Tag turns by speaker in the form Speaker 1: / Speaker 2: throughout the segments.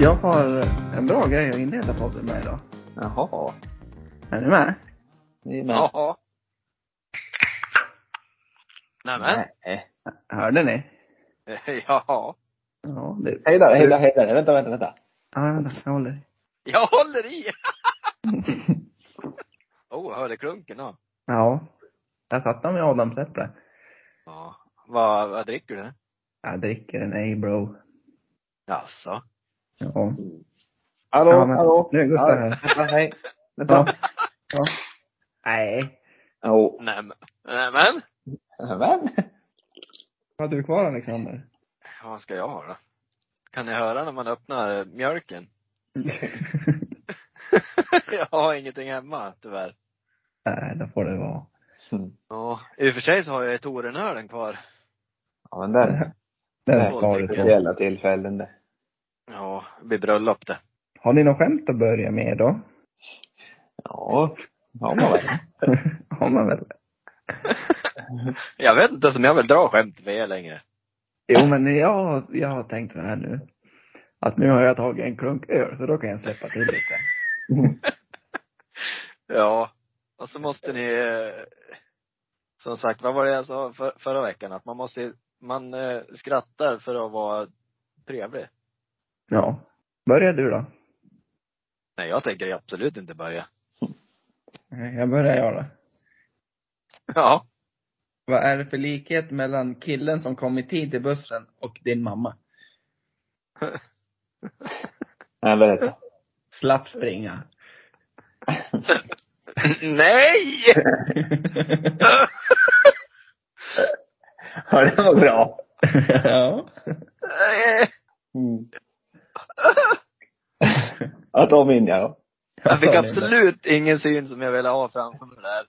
Speaker 1: Jag har en bra grej att inleda podden med idag.
Speaker 2: Jaha.
Speaker 1: Är ni med?
Speaker 2: Ni är med?
Speaker 3: Jaha. Nämen.
Speaker 2: Nej.
Speaker 1: Hörde ni?
Speaker 3: Jaha.
Speaker 1: Ja, det...
Speaker 2: Hejda dig, hejda, hejda dig. Vänta, vänta, vänta.
Speaker 1: Ja, vänta, jag håller i.
Speaker 3: Jag håller i! oh, jag hörde klunken ja.
Speaker 1: Ja. Jag satte med Adams äpple.
Speaker 3: ja. Vad, vad dricker du?
Speaker 1: Jag dricker en A-bro.
Speaker 3: Jaså?
Speaker 1: Ja.
Speaker 2: Hallå,
Speaker 1: ja, men-
Speaker 2: hallå.
Speaker 1: Nu är Gustav
Speaker 2: Ja,
Speaker 1: här.
Speaker 2: Vänta, hej.
Speaker 1: Ja.
Speaker 2: Vänta.
Speaker 1: ja. Nej.
Speaker 2: Jo.
Speaker 3: Nämen. Nämen.
Speaker 2: Nämen.
Speaker 1: Vad har du kvar Alexander?
Speaker 3: Vad ska jag ha då? Kan ni höra när man öppnar eh, mjölken? jag har ingenting hemma, tyvärr.
Speaker 1: Nej, då får det vara.
Speaker 2: Mm.
Speaker 3: Ja, i och för sig så har jag ett Torenölen kvar.
Speaker 2: Ja, men där.
Speaker 1: Den
Speaker 2: Nej,
Speaker 1: ska du på.
Speaker 2: Speciella tillfällen det.
Speaker 3: Ja, det blir bröllop det.
Speaker 1: Har ni något skämt att börja med då?
Speaker 2: Ja. Ja, man väl.
Speaker 1: har man väl?
Speaker 3: Jag vet inte som jag vill dra skämt med er längre.
Speaker 1: Jo, men jag, jag har tänkt så här nu. Att nu har jag tagit en klunk öl, så då kan jag släppa till lite.
Speaker 3: Ja. Och så måste ni, eh, som sagt, vad var det jag sa för, förra veckan? Att man måste, ju- man eh, skrattar för att vara trevlig.
Speaker 1: Ja. Börja du då.
Speaker 3: Nej, jag tänker absolut inte börja.
Speaker 1: Nej, Jag börjar jag då.
Speaker 3: Ja.
Speaker 1: Vad är det för likhet mellan killen som kom i tid till bussen och din mamma?
Speaker 2: Nej, berätta.
Speaker 1: Slapp springa.
Speaker 3: Nej!
Speaker 2: Ja, det var bra.
Speaker 1: ja.
Speaker 3: Eh,
Speaker 2: Mm. Ja, ta min ja.
Speaker 3: Jag fick absolut ingen syn som jag ville ha framför mig där.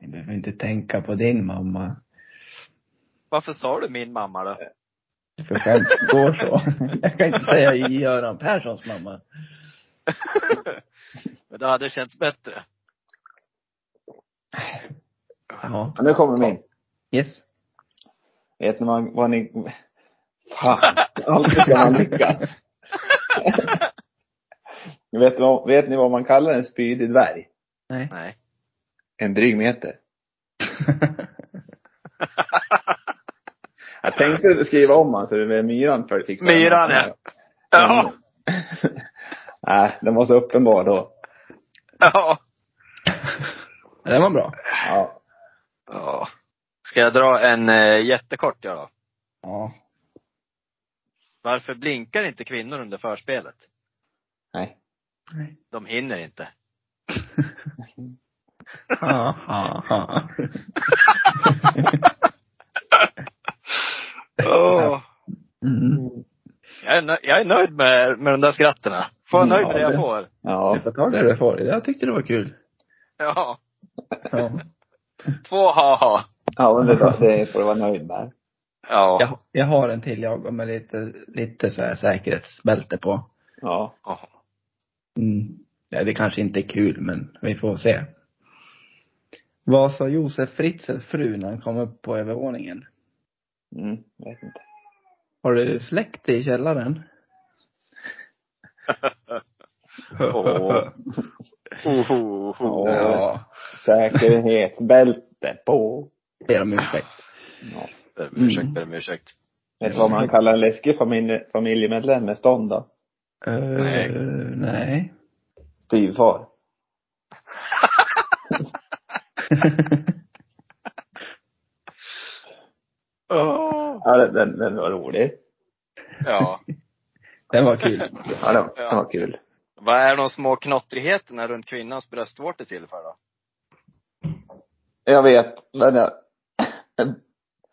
Speaker 1: Ni behöver inte tänka på din mamma.
Speaker 3: Varför sa du min mamma då?
Speaker 1: För skämt går så. Jag kan inte säga Göran Perssons mamma.
Speaker 3: Men det hade känts bättre.
Speaker 1: Ja.
Speaker 2: ja. Nu kommer min.
Speaker 1: Yes.
Speaker 2: Vet ni vad, vad ni... Fan, alltid ska man lyckas. vet, ni vad- vet ni vad man kallar en spydig dvärg?
Speaker 1: Nej.
Speaker 3: Nej.
Speaker 2: En dryg meter. Jag tänkte skriva om han så det blev myran för fick
Speaker 3: Myran, ja. Ja.
Speaker 2: Nej, den var så uppenbar då.
Speaker 3: Ja.
Speaker 1: Den var bra.
Speaker 2: Ja.
Speaker 3: Ja. Ska jag dra en eh, jättekort jag då?
Speaker 1: Ja.
Speaker 3: Varför blinkar inte kvinnor under förspelet?
Speaker 2: Nej.
Speaker 1: Nej.
Speaker 3: De hinner inte.
Speaker 1: Ha, ha, ha.
Speaker 3: Åh.
Speaker 1: Mm.
Speaker 3: Jag, är nö- jag är nöjd med, med de där skratterna. Får jag nöjd med Mm.
Speaker 1: Ja,
Speaker 3: det jag
Speaker 1: det-
Speaker 3: får.
Speaker 2: Ja.
Speaker 1: Du får ta det du får. Jag tyckte det var kul.
Speaker 3: Ja.
Speaker 1: Ja.
Speaker 3: Två ha-ha.
Speaker 2: Ja, men det, det får du vara nöjd med.
Speaker 3: Ja.
Speaker 1: Jag, jag har en till jag med lite, lite så här säkerhetsbälte på.
Speaker 2: Ja.
Speaker 3: ja.
Speaker 1: Mm. Ja, det kanske inte är kul, men vi får se. Vad sa Josef Fritzels fru när han kom upp på övervåningen?
Speaker 2: Mm, vet inte.
Speaker 1: Har du släkt i källaren?
Speaker 3: Åh. Oho, oho.
Speaker 1: Ja.
Speaker 2: Säkerhetsbälte på.
Speaker 1: Ber om ursäkt.
Speaker 2: Ja.
Speaker 3: Ber om ursäkt, ber om ursäkt.
Speaker 2: Vet du vad man kallar en läskig familj, familjemedlem med stånd då?
Speaker 1: Eh,
Speaker 3: Nej.
Speaker 1: nej.
Speaker 2: Styvfar.
Speaker 3: Åh.
Speaker 2: Ja, den, den, den var rolig.
Speaker 3: Ja.
Speaker 1: Den var kul.
Speaker 2: Ja, den, den var kul.
Speaker 3: Vad är de små knottrigheterna runt kvinnans bröstvårtor till för då?
Speaker 2: Jag vet, men jag...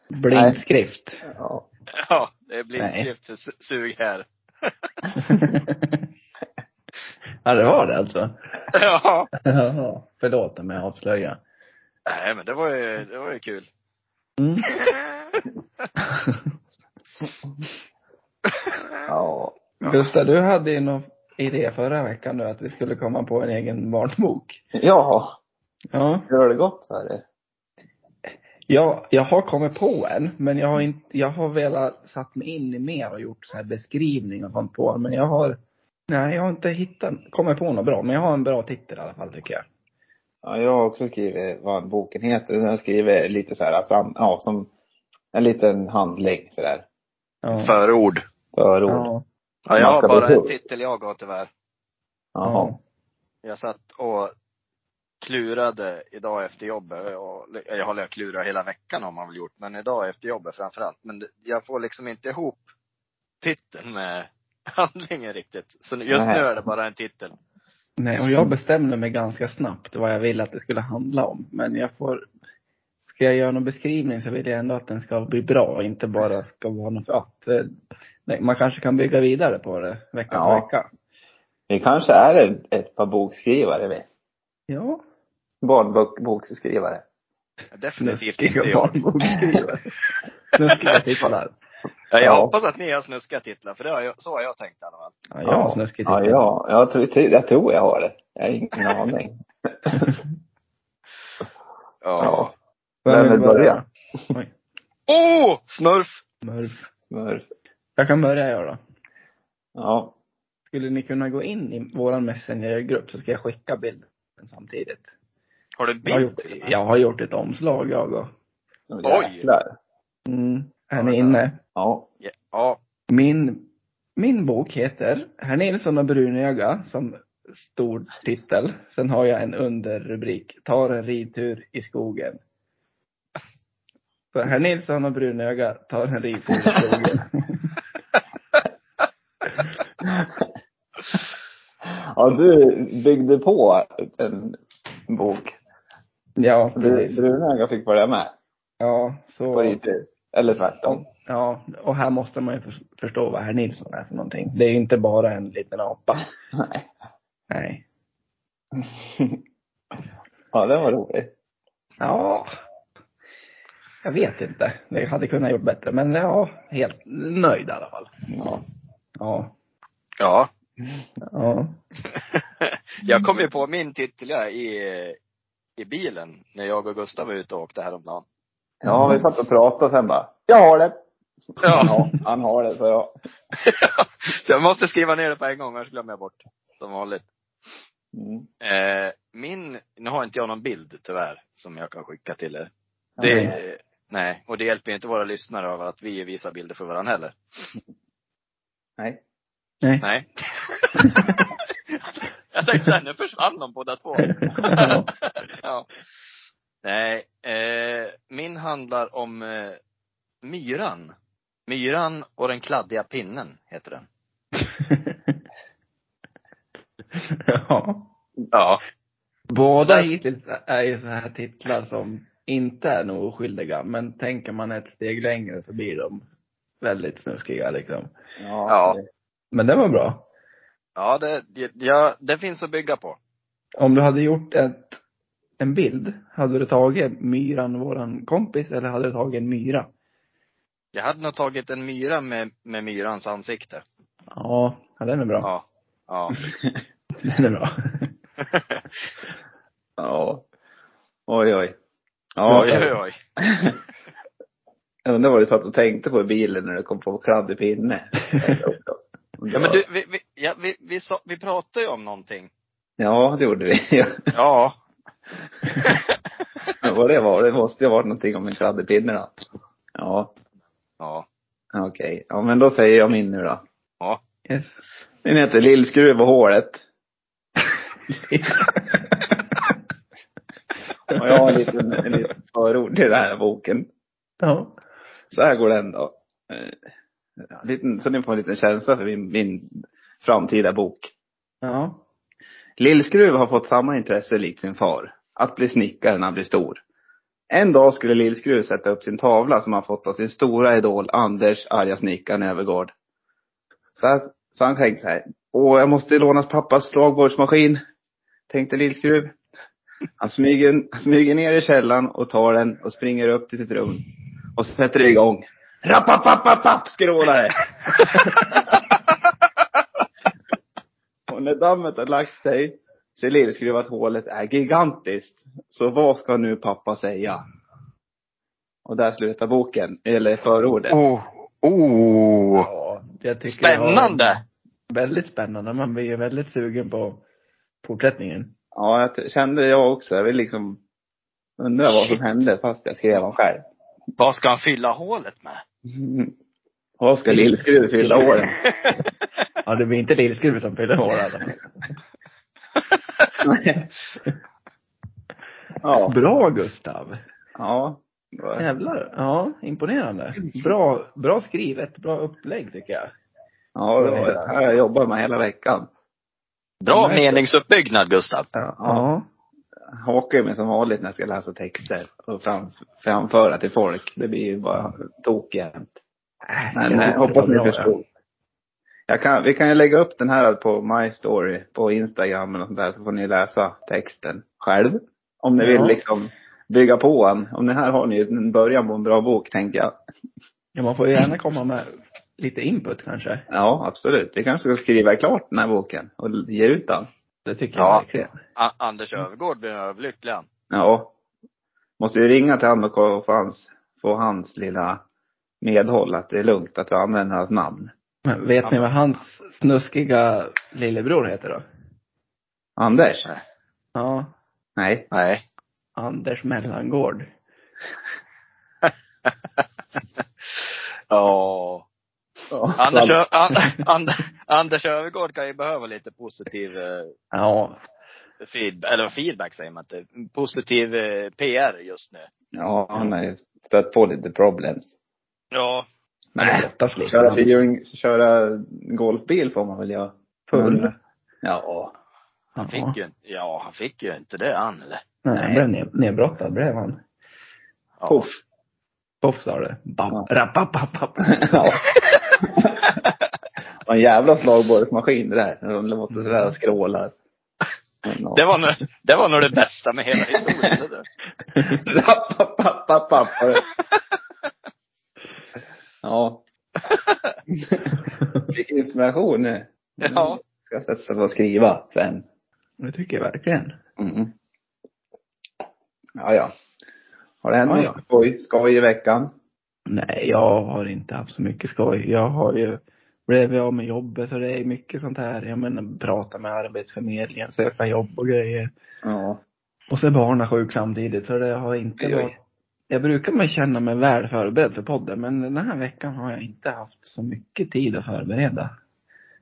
Speaker 1: Blindskrift.
Speaker 2: Ja.
Speaker 3: Ja, det blir skrift för su- sug här.
Speaker 1: ja, det var det alltså.
Speaker 3: Ja.
Speaker 1: Jaha. Förlåt om jag avslöjar.
Speaker 3: Nej men det var ju, det var ju kul.
Speaker 1: Mm.
Speaker 2: Ja.
Speaker 1: Gustav, du hade ju någon idé förra veckan nu att vi skulle komma på en egen barnbok.
Speaker 2: Ja,
Speaker 1: Ja.
Speaker 2: hur har det gått för dig?
Speaker 1: Jag, jag har kommit på en, men jag har inte, jag har velat satt mig in i mer och gjort så här beskrivning och sånt på den, men jag har Nej, jag har inte hittat, kommit på något bra, men jag har en bra titel i alla fall tycker jag.
Speaker 2: Ja, jag har också skrivit vad boken heter. Jag skriver lite så här, sam, ja, som en liten handling sådär.
Speaker 1: Ja.
Speaker 3: Förord.
Speaker 2: Förord. Ja.
Speaker 1: Ja.
Speaker 3: Ja, jag
Speaker 2: Man ska
Speaker 3: har
Speaker 2: bli
Speaker 3: bara en
Speaker 2: tuff.
Speaker 3: titel jag har tyvärr.
Speaker 2: Jaha.
Speaker 3: Jag satt och klurade idag efter jobbet. Och, jag har klurat hela veckan har man väl gjort, men idag efter jobbet framförallt. Men det- jag får liksom inte ihop titeln med handlingen riktigt. Så nu- just
Speaker 2: Nej.
Speaker 3: nu är det bara en titel.
Speaker 1: Nej, och jag bestämde mig ganska snabbt vad jag ville att det skulle handla om. Men jag får, ska jag göra någon beskrivning så vill jag ändå att den ska bli bra, inte bara ska vara något, ja, det- nej, man kanske kan bygga vidare på det vecka för
Speaker 2: Ja.
Speaker 1: vecka.
Speaker 2: Vi kanske är ett- ett par bokskrivare vi.
Speaker 1: Ja.
Speaker 2: Barnbokskrivare.
Speaker 3: Definitivt
Speaker 1: Nu ska
Speaker 3: inte jag.
Speaker 1: barnbokskrivare. Nu ska jag titlar.
Speaker 3: Ja, jag
Speaker 2: Ja.
Speaker 3: hoppas att ni har snuskiga titlar, för det har jag, så har jag tänkt i alla fall.
Speaker 1: Ja, jag har snuskigt
Speaker 2: Ja, ja. Jag tror, jag tror jag har det. Jag har ingen aning. Ja. Vem vill börja?
Speaker 1: Oj,
Speaker 3: Åh! Oh, smurf!
Speaker 1: Smurf.
Speaker 2: Smurf.
Speaker 1: Jag kan börja jag då.
Speaker 2: Ja.
Speaker 1: Skulle ni kunna gå in i våran Messenger-grupp så ska jag skicka bilden samtidigt.
Speaker 3: Har du en
Speaker 1: Jag har,
Speaker 3: bild
Speaker 1: gjort,
Speaker 3: till mig?
Speaker 1: jag har gjort ett omslag jag och.
Speaker 2: Oj. Jäklar.
Speaker 1: Mm. Är
Speaker 3: Ja,
Speaker 1: ni
Speaker 3: det-
Speaker 1: inne?
Speaker 2: Ja.
Speaker 3: Ja. ja.
Speaker 1: Min, min bok heter Herr Nilsson och brunöga som stor titel. Sen har jag en underrubrik, Tar en ridtur i skogen. Så Herr Nilsson och brunöga tar en ridtur i skogen.
Speaker 2: Ja, du byggde på en bok.
Speaker 1: ja,
Speaker 2: Du-
Speaker 1: precis.
Speaker 2: Brunöga fick följa med
Speaker 1: Ja,
Speaker 2: på
Speaker 1: så.
Speaker 2: ridtur. Eller tvärtom.
Speaker 1: Ja, och här måste man ju för- förstå vad herr Nilsson är för någonting. Det är ju inte bara en liten apa.
Speaker 2: Nej.
Speaker 1: Nej.
Speaker 2: Ja, den var rolig.
Speaker 1: Ja. Jag vet inte. Jag hade kunnat gjort bättre, men ja, helt nöjd i alla fall.
Speaker 2: Ja.
Speaker 1: Ja.
Speaker 3: ja.
Speaker 1: Ja.
Speaker 3: Jag kom ju på min titel ja, i, i bilen när jag och Gustav var ute och åkte häromdagen.
Speaker 2: Ja, vi satt och pratade och sen bara, jag har det.
Speaker 3: Ja.
Speaker 2: han har det, så jag.
Speaker 3: Så jag måste skriva ner det på en gång, annars glömmer jag bort. Som vanligt.
Speaker 2: Mm.
Speaker 3: Eh, min, nu har inte jag någon bild tyvärr, som jag kan skicka till er.
Speaker 2: Ja,
Speaker 3: Det,
Speaker 2: men-
Speaker 3: nej, och det hjälper ju inte våra lyssnare av att vi visar bilder för varandra heller.
Speaker 2: Nej.
Speaker 1: Nej.
Speaker 3: Nej. jag tänkte såhär, nu försvann de båda två.
Speaker 1: Ja.
Speaker 3: ja. Nej, eh, min handlar om eh, myran. Myran och den kladdiga pinnen, heter den.
Speaker 1: ja.
Speaker 3: Ja.
Speaker 1: Båda hittills är ju så här titlar som inte är nog oskyldiga, men tänker man ett steg längre så blir de väldigt snuskiga liksom.
Speaker 2: Ja.
Speaker 3: Ja.
Speaker 1: Men det var bra.
Speaker 3: Ja, det, ja, det finns att bygga på.
Speaker 1: Om du hade gjort ett, en bild, hade du tagit myran, våran kompis, eller hade du tagit en myra?
Speaker 3: Jag hade nog tagit en myra med, med myrans ansikte.
Speaker 1: Ja, ja den är bra.
Speaker 3: Ja. Ja.
Speaker 1: Den är bra.
Speaker 2: Ja. Oj, oj. Ja,
Speaker 3: Oj, oj, oj.
Speaker 2: jag undrar vad du satt och tänkte på i bilen när du kom på kladdig pinne.
Speaker 3: Ja, men du, vi, vi, ja, vi, vi, sa, vi pratade ju om någonting.
Speaker 2: Ja, det gjorde vi.
Speaker 3: Ja.
Speaker 2: Ja, vad det var, det måste ju ha varit någonting om en kladdig pinne då. alltså. Ja,
Speaker 3: Ja.
Speaker 2: okej. Ja, men då säger jag min nu då.
Speaker 1: Yes.
Speaker 2: Min heter Lillskruv och hålet. Och jag har en liten, en liten förord till den här boken.
Speaker 1: ja.
Speaker 2: Så här går den då. Eh, ja, Liten, så ni får en liten känsla för min, min framtida bok.
Speaker 1: Ja.
Speaker 2: Lillskruv har fått samma intresse likt sin far. Att bli snickare när han blir stor. En dag skulle Lillskruv sätta upp sin tavla som han fått av sin stora idol Anders arga snickaren Övergård. Så, här, så han tänkte så här. Åh, jag måste låna pappas slagbordsmaskin. Tänkte Lillskruv. Han smyger, han smyger ner i källaren och tar den och springer upp till sitt rum. Och sätter igång. Rappapappapapp skrålar det. Och när dammet har lagt sig så är Lillskruv att hålet är gigantiskt. Så vad ska nu pappa säga? Och där slutar boken, eller förordet.
Speaker 3: Oh. Oh.
Speaker 1: ja jag tycker jag har-
Speaker 3: Spännande!
Speaker 1: väldigt spännande. Man blir ju väldigt sugen på fortsättningen.
Speaker 2: Ja, jag t- kände jag också. Jag vill liksom undra vad som hände fast jag skrev om själv.
Speaker 3: Vad ska han fylla hålet med?
Speaker 2: Mm. Vad ska Lillskruv fylla åren?
Speaker 1: Ja, det blir inte Lillskruv som fyller år alltså.
Speaker 2: ja.
Speaker 1: Bra Gustav!
Speaker 2: Ja. det var-
Speaker 1: Jävlar. Ja, imponerande. Bra, bra skrivet, bra upplägg tycker jag.
Speaker 2: Ja, det var det här jag jobbade med hela veckan.
Speaker 3: Bra meningsuppbyggnad Gustav.
Speaker 1: Ja.
Speaker 2: Hakar mig som vanligt när jag ska läsa texter och fram, framföra till folk. Det blir ju bara tok jämt.
Speaker 1: Äh,
Speaker 2: Men eh, hoppas ni förstår. Jag kan, vi kan ju lägga upp den här på My Story på Instagram eller sånt där så får ni läsa texten själv. Om ni
Speaker 1: Ja.
Speaker 2: vill liksom bygga på en. Om ni här har ni ju en början på en bra bok tänker jag.
Speaker 1: Ja, man får ju gärna komma med lite input kanske.
Speaker 2: Ja, absolut. Vi kanske ska skriva klart den här boken och ge ut den.
Speaker 1: Det tycker
Speaker 3: Ja.
Speaker 1: jag verkligen.
Speaker 3: A- Anders Öfvergård blir överlycklig han.
Speaker 2: Ja. Måste ju ringa till honom och få hans, få hans lilla medhåll att det är lugnt att vi använder hans namn.
Speaker 1: Men vet ni vad hans snuskiga lillebror heter då?
Speaker 2: Anders?
Speaker 1: Ja,
Speaker 2: Nej.
Speaker 3: Nej.
Speaker 1: Anders Mellangård.
Speaker 3: Ja.
Speaker 2: Ja.
Speaker 3: Anders, Ö- An- An- Anders Öfvergård kan ju behöva lite positiv eh,
Speaker 1: Ja,
Speaker 3: feedback, eller feedback säger man inte. Positiv eh, PR just nu.
Speaker 2: Ja, han har ju stött på lite problems.
Speaker 3: Ja.
Speaker 1: men det brottas lite.
Speaker 2: Köra, fyrhjuling- köra golfbil får man väl göra.
Speaker 1: Full.
Speaker 2: Ja.
Speaker 1: Han
Speaker 3: Fick ju, inte- ja, han fick ju inte det han eller?
Speaker 1: Nej, han blev ned- nedbrottad blev han.
Speaker 3: Ja.
Speaker 2: Puff.
Speaker 1: Poff sa det. Bam,
Speaker 2: Ja.
Speaker 1: rapapapapp.
Speaker 2: ja. Och en jävla slagborrsmaskin det där. När de låter sådär och skrålar. Men, ja.
Speaker 3: Det var, nog, det var nog det bästa med hela historien. det där.
Speaker 2: Rappapappapapp. Ja. Fick inspiration nu.
Speaker 3: Ja.
Speaker 2: Ska sätta mig och skriva sen.
Speaker 1: Det tycker jag verkligen.
Speaker 2: Mm. Ja, ja. Har det hänt
Speaker 1: Ja,
Speaker 2: något
Speaker 1: ja.
Speaker 2: skoj, skoj i veckan?
Speaker 1: Nej, jag har inte haft så mycket skoj. Jag har ju blivit av med jobbet och det är mycket sånt här. Jag menar, prata med Arbetsförmedlingen, söka jobb och grejer.
Speaker 2: Ja.
Speaker 1: Och så är barnen sjuk samtidigt, så det har inte
Speaker 2: Oj, oj.
Speaker 1: varit... Jag brukar mig känna mig väl förberedd för podden, men den här veckan har jag inte haft så mycket tid att förbereda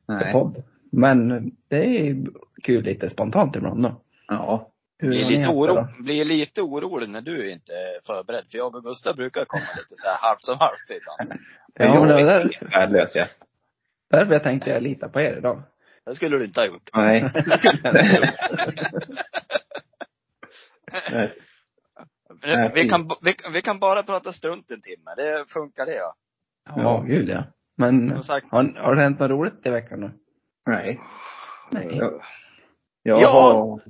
Speaker 1: för
Speaker 2: Nej.
Speaker 1: podd. Men det är kul lite spontant ibland då.
Speaker 2: Ja.
Speaker 1: Hur
Speaker 3: Blir
Speaker 1: har ni
Speaker 3: lite,
Speaker 1: haft det
Speaker 3: oro,
Speaker 1: då?
Speaker 3: blir lite orolig när du inte är förberedd. För jag och Gustav brukar komma lite så här halvt som halvt ibland.
Speaker 1: Ja, men det var där,
Speaker 2: Värdelös jag.
Speaker 1: därför jag tänkte jag litar på er idag.
Speaker 3: Det skulle du inte ha gjort.
Speaker 2: Nej. Nej.
Speaker 3: Men Vi kan, vi, vi kan bara prata strunt en timme. Det funkar det ja.
Speaker 1: Ja, gud ja. Men
Speaker 3: Som sagt.
Speaker 1: har, har det hänt något roligt i veckan då?
Speaker 2: Nej.
Speaker 1: Nej.
Speaker 2: Jag- Jag
Speaker 3: Ja.
Speaker 2: har...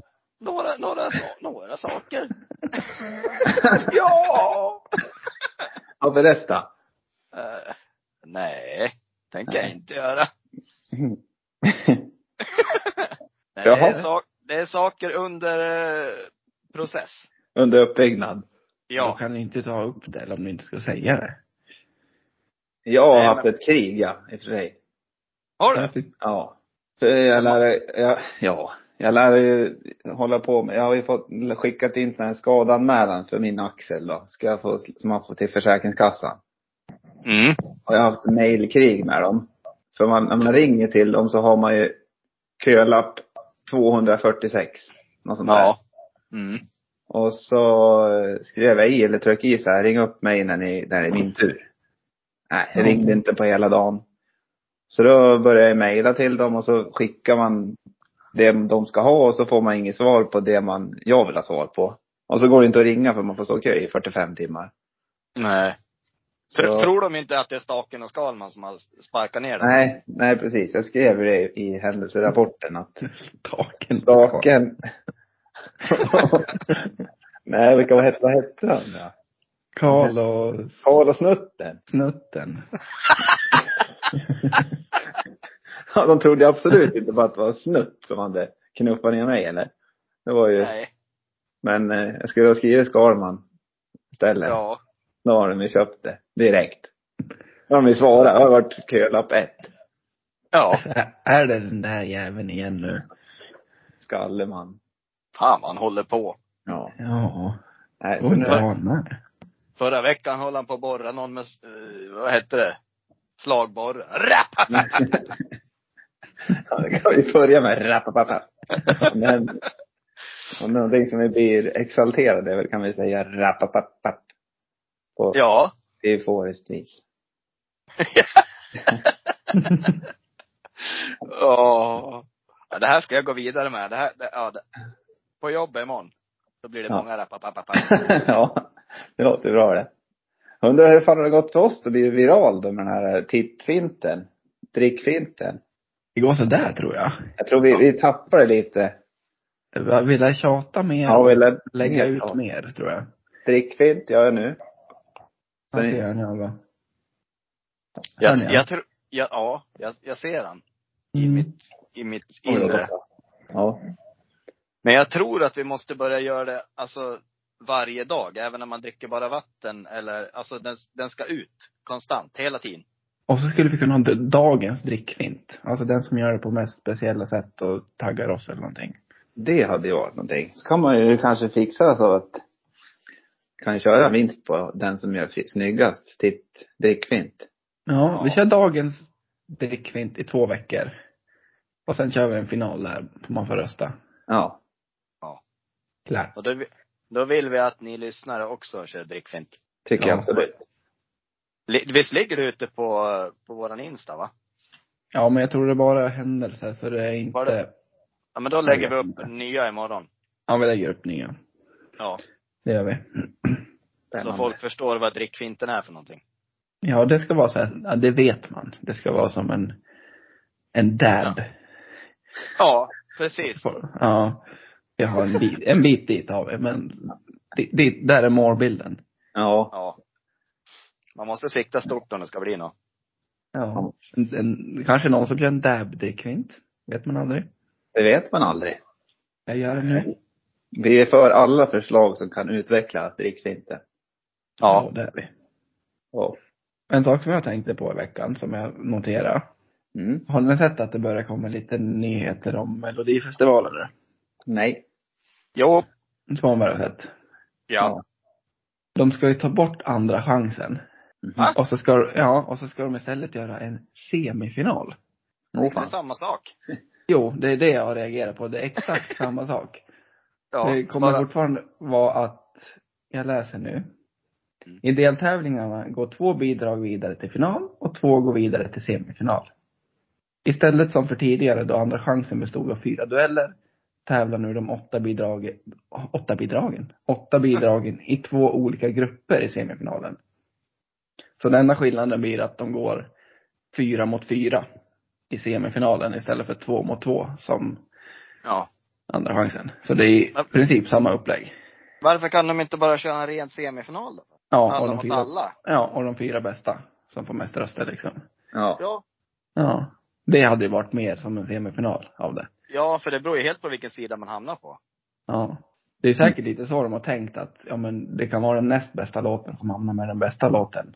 Speaker 3: Några, några, sa- några saker. ja!
Speaker 2: Ja, berätta.
Speaker 3: Eh, nej, tänker jag
Speaker 2: Nej.
Speaker 3: inte göra. Nej, det,
Speaker 2: Jaha.
Speaker 3: är sak, det är saker under eh, process.
Speaker 2: Under uppbyggnad.
Speaker 1: Ja. Då
Speaker 3: Ja.
Speaker 2: Mm.
Speaker 1: kan ni inte ta upp det eller om ni inte ska säga det.
Speaker 2: Jag har
Speaker 3: Nej, men-
Speaker 2: haft ett krig ja, i och för sig.
Speaker 3: Har du?
Speaker 2: Ja. För jag lär, jag, ja, jag lär ju hålla på med, jag har ju fått, skickat in sån här skadanmälan för min axel då. Ska jag få, som man får till Försäkringskassan.
Speaker 3: Mm.
Speaker 2: Och jag har haft mailkrig med dem. För man, när man ringer till dem så har man ju kölapp 246. Något sånt där.
Speaker 3: Ja. Mm.
Speaker 2: Och så eh, skrev jag i, eller tryckte i så här, ring upp mig när, ni, när det är min tur. Nej, jag ringde inte på hela dagen. Så då började jag mejla till dem och så skickar man det de ska ha och så får man inget svar på det man, jag vill ha svar på. Och så går det inte att ringa för man får stå i kö i 45 timmar.
Speaker 3: Nej.
Speaker 2: Så,
Speaker 3: Tr- Tror de inte att det är Staken och Skalman som har sparkat ner dem?
Speaker 2: nej, nej precis. Jag skrev ju det i händelserapporten att
Speaker 1: Taken.
Speaker 2: staken. nej, vilka, vad hette, vad hette han? då?
Speaker 1: Karl och
Speaker 2: Karl och snutten.
Speaker 1: Snutten.
Speaker 2: Ja, de trodde absolut inte på att det var snutt som hade knuffat ner mig eller. Det var ju,
Speaker 3: Nej.
Speaker 2: men eh, jag skulle ha skrivit Skalman istället.
Speaker 3: Ja.
Speaker 2: Då har de ju köpt det direkt. Då har de ju svarat, jag har varit kölapp ett.
Speaker 3: Ja,
Speaker 1: Ä- Är det den där jäveln igen nu?
Speaker 2: Skalleman.
Speaker 3: fan vad han håller på.
Speaker 2: Ja.
Speaker 1: Ja.
Speaker 2: Nej, så nu,
Speaker 1: Undrar han med.
Speaker 3: Förra veckan höll han på att borra någon med, eh, vad hette det? Slagborre. Rapp!
Speaker 2: Ja, det kan vi börja med. Rappapapa. Men, och någonting som vi blir exalterade över kan vi säga rappapapap. På
Speaker 3: Ja.
Speaker 2: euforiskt vis.
Speaker 3: ja. Ja, Det här ska jag gå vidare med. Det här, det, ja, det, på jobbet imorgon. Då blir det
Speaker 2: Ja.
Speaker 3: många rappapapapa.
Speaker 2: ja, det låter bra det. Undrar hur fan det har gått för oss att bli viral då med den här tittfinten. Drickfinten.
Speaker 1: Det går sådär tror jag.
Speaker 2: Jag tror vi, vi tappade lite.
Speaker 1: Jag vill tjata mer
Speaker 2: Ja, vi lä-
Speaker 1: och lägga ut
Speaker 2: Ja.
Speaker 1: mer tror jag.
Speaker 2: Drickfint gör jag nu.
Speaker 1: Så
Speaker 2: Sen-
Speaker 1: det gör ni alla.
Speaker 3: Jag,
Speaker 1: Hör ni?
Speaker 3: jag tror, jag, ja, jag, jag ser han i
Speaker 1: Mm.
Speaker 3: mitt, i mitt inre.
Speaker 2: Ja.
Speaker 3: Men jag tror att vi måste börja göra det, alltså varje dag, även när man dricker bara vatten eller, alltså den, den ska ut konstant, hela tiden.
Speaker 1: Och så skulle vi kunna ha d- dagens drickfint. Alltså den som gör det på mest speciella sätt och taggar oss eller någonting.
Speaker 2: Det hade ju varit någonting. Så kan man ju kanske fixa så att kan köra vinst på den som gör fi- snyggast titt drickfint.
Speaker 1: Ja, vi
Speaker 3: Ja.
Speaker 1: kör dagens drickfint i två veckor. Och sen kör vi en final där man får rösta.
Speaker 2: Ja.
Speaker 1: Klart.
Speaker 3: Och då, vi- då vill vi att ni lyssnare också kör drickfint.
Speaker 2: Tycker
Speaker 1: Ja.
Speaker 2: jag absolut.
Speaker 3: Li- Visst ligger det ute på, på våran Insta va?
Speaker 1: Ja, men jag tror det bara är händelser så det är
Speaker 3: Var
Speaker 1: inte...
Speaker 3: det- Ja men då lägger vi upp nya imorgon.
Speaker 1: Ja, vi lägger upp nya.
Speaker 3: Ja.
Speaker 1: Det gör vi.
Speaker 3: Så
Speaker 2: Spännande.
Speaker 3: folk förstår vad drickfinten är för någonting.
Speaker 1: Ja, det ska vara så här, ja, det vet man. Det ska vara som en, en dab.
Speaker 3: Ja, precis.
Speaker 1: Ja. Jag har en bit, en bit dit har vi, men di- dit, där är målbilden.
Speaker 2: Ja.
Speaker 3: Ja. Man måste sikta stort om det ska bli något.
Speaker 1: Ja. En, en, kanske någon som gör en dab-drickfint. Vet man aldrig.
Speaker 2: Det vet man aldrig.
Speaker 1: Jag gör det nu.
Speaker 2: Vi är för alla förslag som kan utveckla drickfinten.
Speaker 3: Ja.
Speaker 1: det är vi.
Speaker 2: Ja.
Speaker 1: En sak som jag tänkte på i veckan som jag noterade.
Speaker 2: Mm.
Speaker 1: Har ni sett att det börjar komma lite nyheter om Melodifestivalen nu?
Speaker 2: Nej.
Speaker 3: Jo.
Speaker 1: Inte vad man bara sett.
Speaker 3: Ja.
Speaker 1: De ska ju ta bort andra chansen.
Speaker 2: Va?
Speaker 1: Och så ska, ja, och så ska de istället göra en semifinal.
Speaker 2: Åh
Speaker 3: Det är
Speaker 2: fan.
Speaker 3: samma sak.
Speaker 1: Jo, det är det jag reagerar på. Det är exakt samma sak.
Speaker 3: Ja.
Speaker 1: det kommer
Speaker 3: bara-
Speaker 1: fortfarande vara att, jag läser nu.
Speaker 3: Mm.
Speaker 1: I deltävlingarna går två bidrag vidare till final och två går vidare till semifinal. Istället som för tidigare då andra chansen bestod av fyra dueller tävlar nu de åtta bidragen, åtta bidragen, åtta bidragen i två olika grupper i semifinalen. Så den enda skillnaden blir att de går fyra mot fyra i semifinalen istället för två mot två som
Speaker 3: Ja.
Speaker 1: andra chansen. Så det är i princip samma upplägg.
Speaker 3: Varför kan de inte bara köra en ren semifinal då?
Speaker 1: Ja, och
Speaker 3: Alla
Speaker 1: de
Speaker 3: mot
Speaker 1: fyra,
Speaker 3: alla.
Speaker 1: ja, och de fyra bästa som får mest röster liksom.
Speaker 2: Ja.
Speaker 3: Ja.
Speaker 1: Ja. Det hade ju varit mer som en semifinal av det.
Speaker 3: Ja, för det beror ju helt på vilken sida man hamnar på.
Speaker 1: Ja. Det är säkert lite så de har tänkt att, ja men det kan vara den näst bästa låten som hamnar med den bästa låten.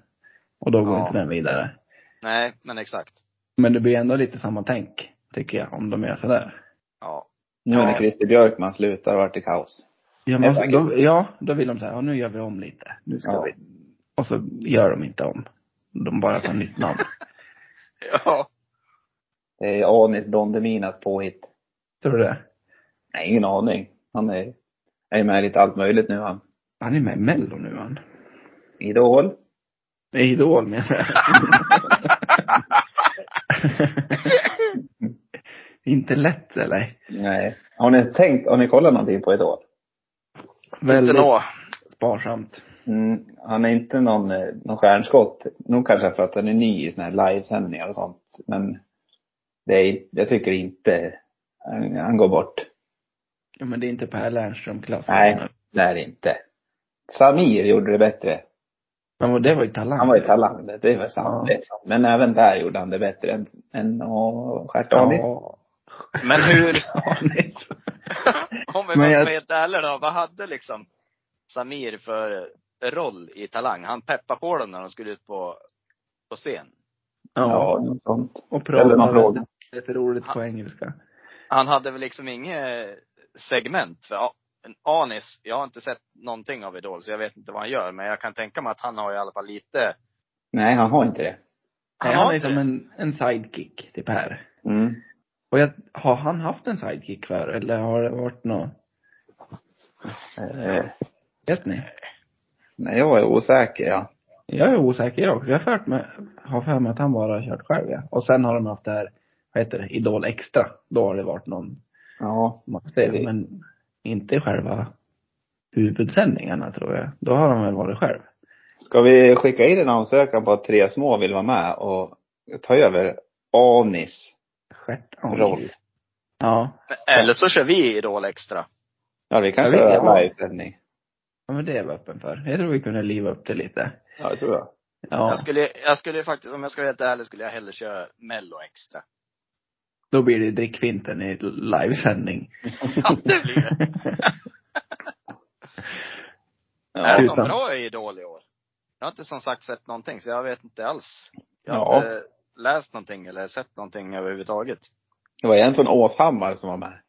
Speaker 1: Och då går
Speaker 3: Ja.
Speaker 1: inte den vidare.
Speaker 3: Nej, men exakt.
Speaker 1: Men det blir ändå lite samma tänk, tycker jag, om de gör sådär.
Speaker 3: Ja.
Speaker 2: Nu när
Speaker 3: Ja.
Speaker 2: Christer Björkman slutar vart det kaos.
Speaker 1: Ja,
Speaker 2: men
Speaker 1: men så,
Speaker 2: faktiskt-
Speaker 1: då, ja, då vill de säga, ja nu gör vi om lite. Nu ska
Speaker 2: Ja.
Speaker 1: vi. Och så gör de inte om. De bara tar nytt namn.
Speaker 3: Ja.
Speaker 2: Det är Anis Don Deminas påhitt.
Speaker 1: Tror du det?
Speaker 2: Nej, ingen aning. Han är, är med i lite allt möjligt nu han.
Speaker 1: Han är med i Mello nu han.
Speaker 2: Idol.
Speaker 1: Nej, Idol menar jag. Inte lätt eller?
Speaker 2: Nej. Har ni tänkt, har ni kollat någonting på Idol?
Speaker 1: Väldigt
Speaker 3: Inte nå.
Speaker 1: sparsamt.
Speaker 2: Mm, han är inte någon, eh, någon stjärnskott. Nog kanske för att han är ny i såna här livesändningar och sånt. Men det är, jag tycker inte han, han går bort.
Speaker 1: Ja, men det är inte Per Lernström-klass.
Speaker 2: Nej, det är det inte. Samir gjorde det bättre.
Speaker 1: Men vad- det var ju talang.
Speaker 2: Han var ju talang, det det var sant.
Speaker 1: Ja.
Speaker 2: det är sant. Men även där gjorde han det bättre än, än att stjärta av det.
Speaker 1: Ja.
Speaker 3: Men hur,
Speaker 1: Anis.
Speaker 3: om vi
Speaker 1: Men jag-
Speaker 3: var helt ärliga då, vad hade liksom Samir för roll i Talang? Han peppade på dem när de skulle ut på, på scen.
Speaker 2: Ja, något sånt.
Speaker 1: och
Speaker 2: Ställer någon
Speaker 1: pratar
Speaker 2: fråga.
Speaker 1: lite roligt på engelska.
Speaker 3: Han hade väl liksom inget segment. För A- en Anis, jag har inte sett någonting av Idol, så jag vet inte vad han gör. Men jag kan tänka mig att han har i alla fall lite,
Speaker 2: Nej, han har inte det.
Speaker 1: Han,
Speaker 3: har
Speaker 1: han är
Speaker 3: inte
Speaker 1: som
Speaker 3: det.
Speaker 1: en, en sidekick till Per.
Speaker 2: Mm.
Speaker 1: Och jag, har han haft en sidekick förr eller har det varit något?
Speaker 2: Eh,
Speaker 1: Vet ni?
Speaker 2: nej, jag är osäker ja.
Speaker 1: Jag är osäker jag också. Jag har för mig, har för mig att han bara har kört själv ja. Och sen har de haft det här, vad heter det, Idol Extra. Då har det varit någon,
Speaker 2: Ja.
Speaker 1: man säger,
Speaker 2: Det-
Speaker 1: men inte själva huvudsändningarna tror jag. Då har de väl varit själv.
Speaker 2: Ska vi skicka in en ansökan på att tre små vill vara med och ta över Anis
Speaker 1: Stjärtanis.
Speaker 2: roll?
Speaker 1: Ja.
Speaker 3: eller så kör vi Idol extra.
Speaker 2: Ja, vi kan
Speaker 1: Jag vet
Speaker 2: köra
Speaker 1: inte.
Speaker 2: livesändning.
Speaker 1: ja, men det är jag öppen för. Jag tror vi kunde liva upp det lite.
Speaker 2: Ja, det tror jag.
Speaker 1: Ja,
Speaker 3: Jag skulle, jag skulle faktiskt, om jag ska vara helt ärlig, skulle jag hellre köra Mello extra.
Speaker 1: då blir det drickfinten i livesändning.
Speaker 3: Ja, det blir det. är
Speaker 2: Ja,
Speaker 3: det någon
Speaker 1: utan-
Speaker 3: bra i Idol i år? Jag har inte som sagt sett någonting, så jag vet inte alls. Jag har
Speaker 2: Ja.
Speaker 3: inte läst någonting eller sett någonting överhuvudtaget.
Speaker 2: det var en från Åshammar som var med.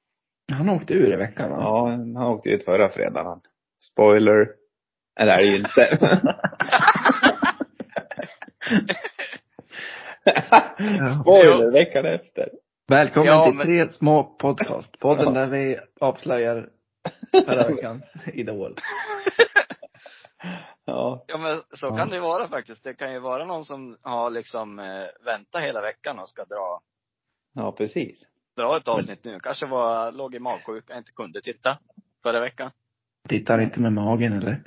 Speaker 1: Han åkte ur i veckan va?
Speaker 2: Ja, han åkte ut förra fredagen. han. Spoiler. Eller är det ju inte. Spoiler veckan efter.
Speaker 1: Välkommen
Speaker 3: Ja,
Speaker 1: till
Speaker 3: men-
Speaker 1: Tre små podcast. Podden
Speaker 2: Ja.
Speaker 1: där vi avslöjar förra veckans idol.
Speaker 2: Ja.
Speaker 3: Ja men så
Speaker 1: Ja.
Speaker 3: kan det ju vara faktiskt. Det kan ju vara någon som har liksom eh, väntat hela veckan och ska dra,
Speaker 2: Ja, precis.
Speaker 3: dra ett avsnitt nu. Kanske var, låg i magsjuka, inte kunde titta förra veckan.
Speaker 1: Tittar inte med magen eller?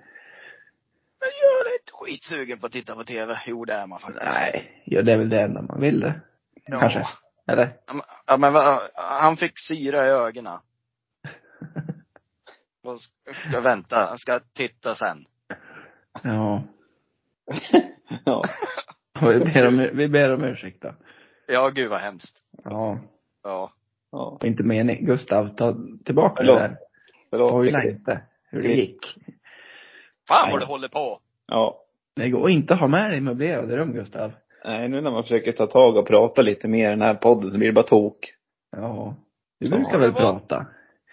Speaker 3: Men jag är inte skitsugen på att titta på TV. Jo det är man faktiskt.
Speaker 1: Nej, ja, det är väl det enda man vill det.
Speaker 3: ja.
Speaker 1: kanske. Eller?
Speaker 3: Ja, men- Ja men vad- han fick syra i ögonen. Och ska- ska vänta, han ska titta sen.
Speaker 1: Ja.
Speaker 2: Ja.
Speaker 1: Och Vi ber om, vi ber om ursäkt då.
Speaker 3: Ja gud vad hemskt.
Speaker 1: Ja.
Speaker 3: Ja.
Speaker 2: ja.
Speaker 1: Och inte mening. Gustav, ta tillbaka det
Speaker 2: Förlåt.
Speaker 1: där.
Speaker 2: Förlåt.
Speaker 1: Och längta. Hur det gick.
Speaker 3: Fan
Speaker 1: Nej.
Speaker 3: vad du håller på!
Speaker 2: Ja.
Speaker 1: Det går inte att ha med dig i möblerade rum Gustav.
Speaker 2: Nej, nu när man försöker ta tag och prata lite mer i den här podden så blir det bara tok.
Speaker 1: Ja. Du
Speaker 2: Ja,
Speaker 1: brukar
Speaker 3: det
Speaker 1: väl
Speaker 3: var-
Speaker 1: prata?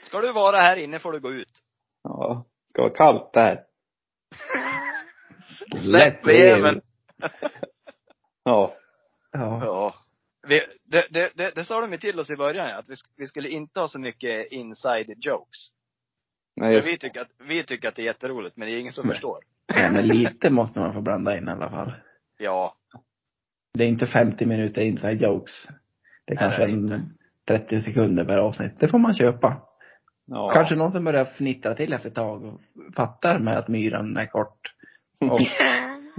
Speaker 3: Ska du vara här inne får du gå ut.
Speaker 2: Ja. Ska vara kallt där.
Speaker 1: Släpp
Speaker 3: jäveln.
Speaker 2: Ja.
Speaker 1: Ja.
Speaker 3: Ja. Vi, det, det, det, det sa de ju till oss i början, ja, att vi, sk- vi skulle inte ha så mycket inside jokes.
Speaker 2: Nej,
Speaker 3: För
Speaker 2: just.
Speaker 3: vi, tycker att, vi tycker att det är jätteroligt, men det är ingen som
Speaker 1: Nej.
Speaker 3: förstår.
Speaker 1: Nej men lite måste man få blanda in i alla fall.
Speaker 3: Ja.
Speaker 1: Det är inte 50 minuter inside jokes. Det är
Speaker 3: Nej,
Speaker 1: kanske
Speaker 3: det är
Speaker 1: en 30 sekunder per avsnitt. Det får man köpa.
Speaker 2: Ja.
Speaker 1: Kanske någon som börjar fnittra till efter ett tag och fattar med att myran är kort. Och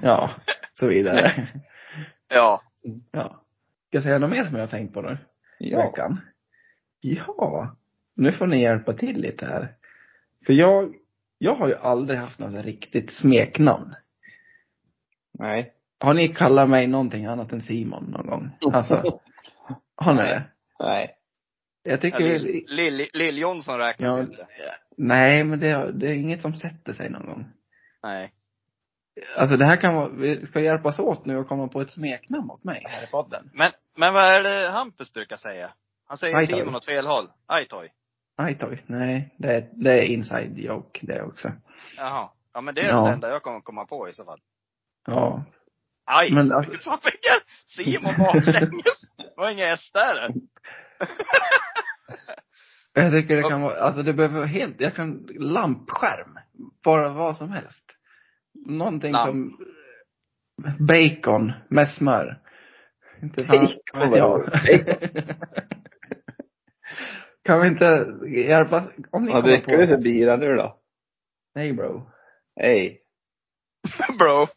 Speaker 1: ja, så vidare.
Speaker 3: Ja.
Speaker 1: Ja. Ska jag säga något mer som jag har tänkt på nu? i
Speaker 2: Ja.
Speaker 1: veckan. Ja, nu får ni hjälpa till lite här. För jag, jag har ju aldrig haft något riktigt smeknamn.
Speaker 2: Nej.
Speaker 1: Har ni kallat mig någonting annat än Simon någon gång? Alltså, har ni det?
Speaker 2: Nej.
Speaker 1: Jag tycker väl,
Speaker 3: Lill- Lill-Jonsson räknas ju
Speaker 1: ja,
Speaker 3: inte.
Speaker 1: nej men det, det är inget som sätter sig någon gång.
Speaker 3: Nej.
Speaker 1: Alltså det här kan vara, vi ska hjälpas åt nu och komma på ett smeknamn åt mig här i podden.
Speaker 3: Men, men vad är det Hampus brukar säga? Han säger
Speaker 1: Ajtoj.
Speaker 3: Simon åt fel håll. Ajtoj.
Speaker 1: Nej tack, nej. Det är, det är inside joke det också.
Speaker 3: Jaha. Ja men det är
Speaker 1: Ja.
Speaker 3: det enda jag kommer komma på i så fall.
Speaker 1: Ja.
Speaker 3: Aj!
Speaker 1: Men
Speaker 3: Men
Speaker 1: alltså-
Speaker 3: Fan vilken Simon baklänges! Det var inga S där.
Speaker 1: Jag tycker det kan vara, alltså det behöver vara helt, jag kan, lampskärm. Bara vad som helst. Någonting
Speaker 3: Lamp.
Speaker 1: som, bacon med smör. Inte fan,
Speaker 2: Bacon,
Speaker 1: vet jag. kan vi inte hjälpa, om ni kommer
Speaker 2: Vad dricker du för
Speaker 1: på,
Speaker 2: bira nu då?
Speaker 1: nej bro.
Speaker 2: Hej.
Speaker 3: Bro.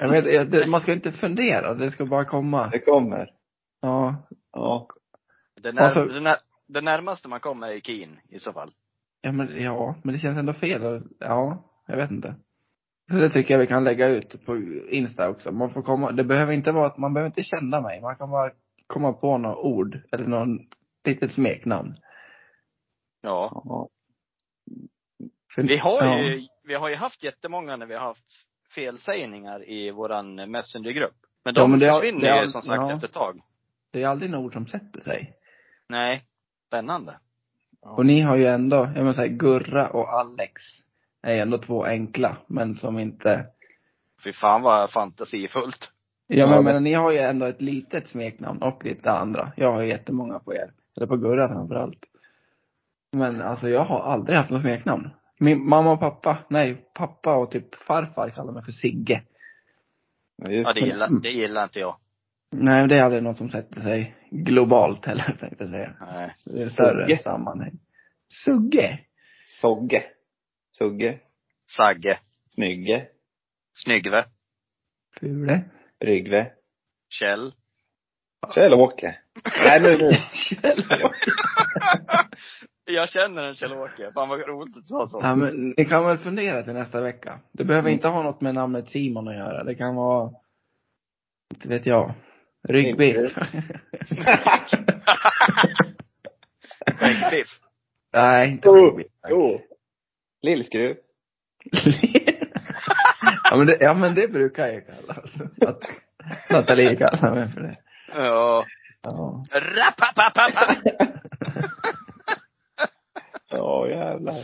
Speaker 1: Jag vet, jag, det, man ska inte fundera, det ska bara komma.
Speaker 2: Det kommer.
Speaker 1: Ja.
Speaker 2: Ja.
Speaker 3: Det, när,
Speaker 1: Alltså-
Speaker 3: det, när, det närmaste man kommer är Keen i så fall.
Speaker 1: Ja men, ja, men det känns ändå fel. Ja, jag vet inte. Så det tycker jag vi kan lägga ut på Insta också. Man får komma, det behöver inte vara att man behöver inte känna mig. Man kan bara komma på några ord eller någon litet smeknamn.
Speaker 3: Ja.
Speaker 2: ja.
Speaker 1: För-
Speaker 3: Vi har
Speaker 1: ja,
Speaker 3: ju, vi har ju haft jättemånga när vi har haft felsägningar i våran messengergrupp.
Speaker 4: Men
Speaker 1: Ja,
Speaker 4: de
Speaker 1: men det har-
Speaker 4: försvinner
Speaker 1: det har-
Speaker 4: ju som sagt
Speaker 1: ja.
Speaker 4: efter ett tag.
Speaker 1: Det är aldrig något som sätter sig.
Speaker 4: Nej.
Speaker 3: Spännande.
Speaker 1: Och ni har ju ändå, jag menar säga Gurra och Alex är ju ändå två enkla, men som inte
Speaker 3: Fy fan vad fantasifullt.
Speaker 1: Ja, men,
Speaker 2: Ja,
Speaker 1: jag menar, ni har ju ändå ett litet smeknamn och lite andra. Jag har ju jättemånga på er. Eller på Gurra framförallt. Men alltså jag har aldrig haft något smeknamn. Min mamma och pappa, nej pappa och typ farfar kallar mig för Sigge.
Speaker 2: Ja, just
Speaker 3: Ja, det
Speaker 2: det.
Speaker 3: gillar,
Speaker 1: Mm.
Speaker 3: det gillar inte jag.
Speaker 1: Nej men det är aldrig något som sätter sig globalt heller tänkte jag säga.
Speaker 3: Nej.
Speaker 1: Det är större
Speaker 2: Sugge.
Speaker 1: sammanhang. Sugge!
Speaker 2: Sogge. Sugge.
Speaker 3: Sagge.
Speaker 2: Snygge.
Speaker 3: Snyggve.
Speaker 1: Fule.
Speaker 2: Rygve.
Speaker 3: Kjell.
Speaker 2: Kjell-Åke. Nej, nu, nu.
Speaker 3: Jag känner en Kjell-Åke. Fan vad roligt att du sa så.
Speaker 1: Ja, men ni kan väl fundera till nästa vecka. Det behöver inte ha något med namnet Simon att göra. Det kan vara, inte vet jag, ryggbiff.
Speaker 3: Skäggbiff.
Speaker 1: Nej, inte
Speaker 2: Jo,
Speaker 1: ryggbiff.
Speaker 2: Jo. Lillskruv.
Speaker 1: ja, men det, ja, men det brukar jag kalla Att Nathalie kallar mig för det.
Speaker 3: Ja.
Speaker 1: Ja.
Speaker 3: Rappapapapa.
Speaker 2: Ja, jävlar.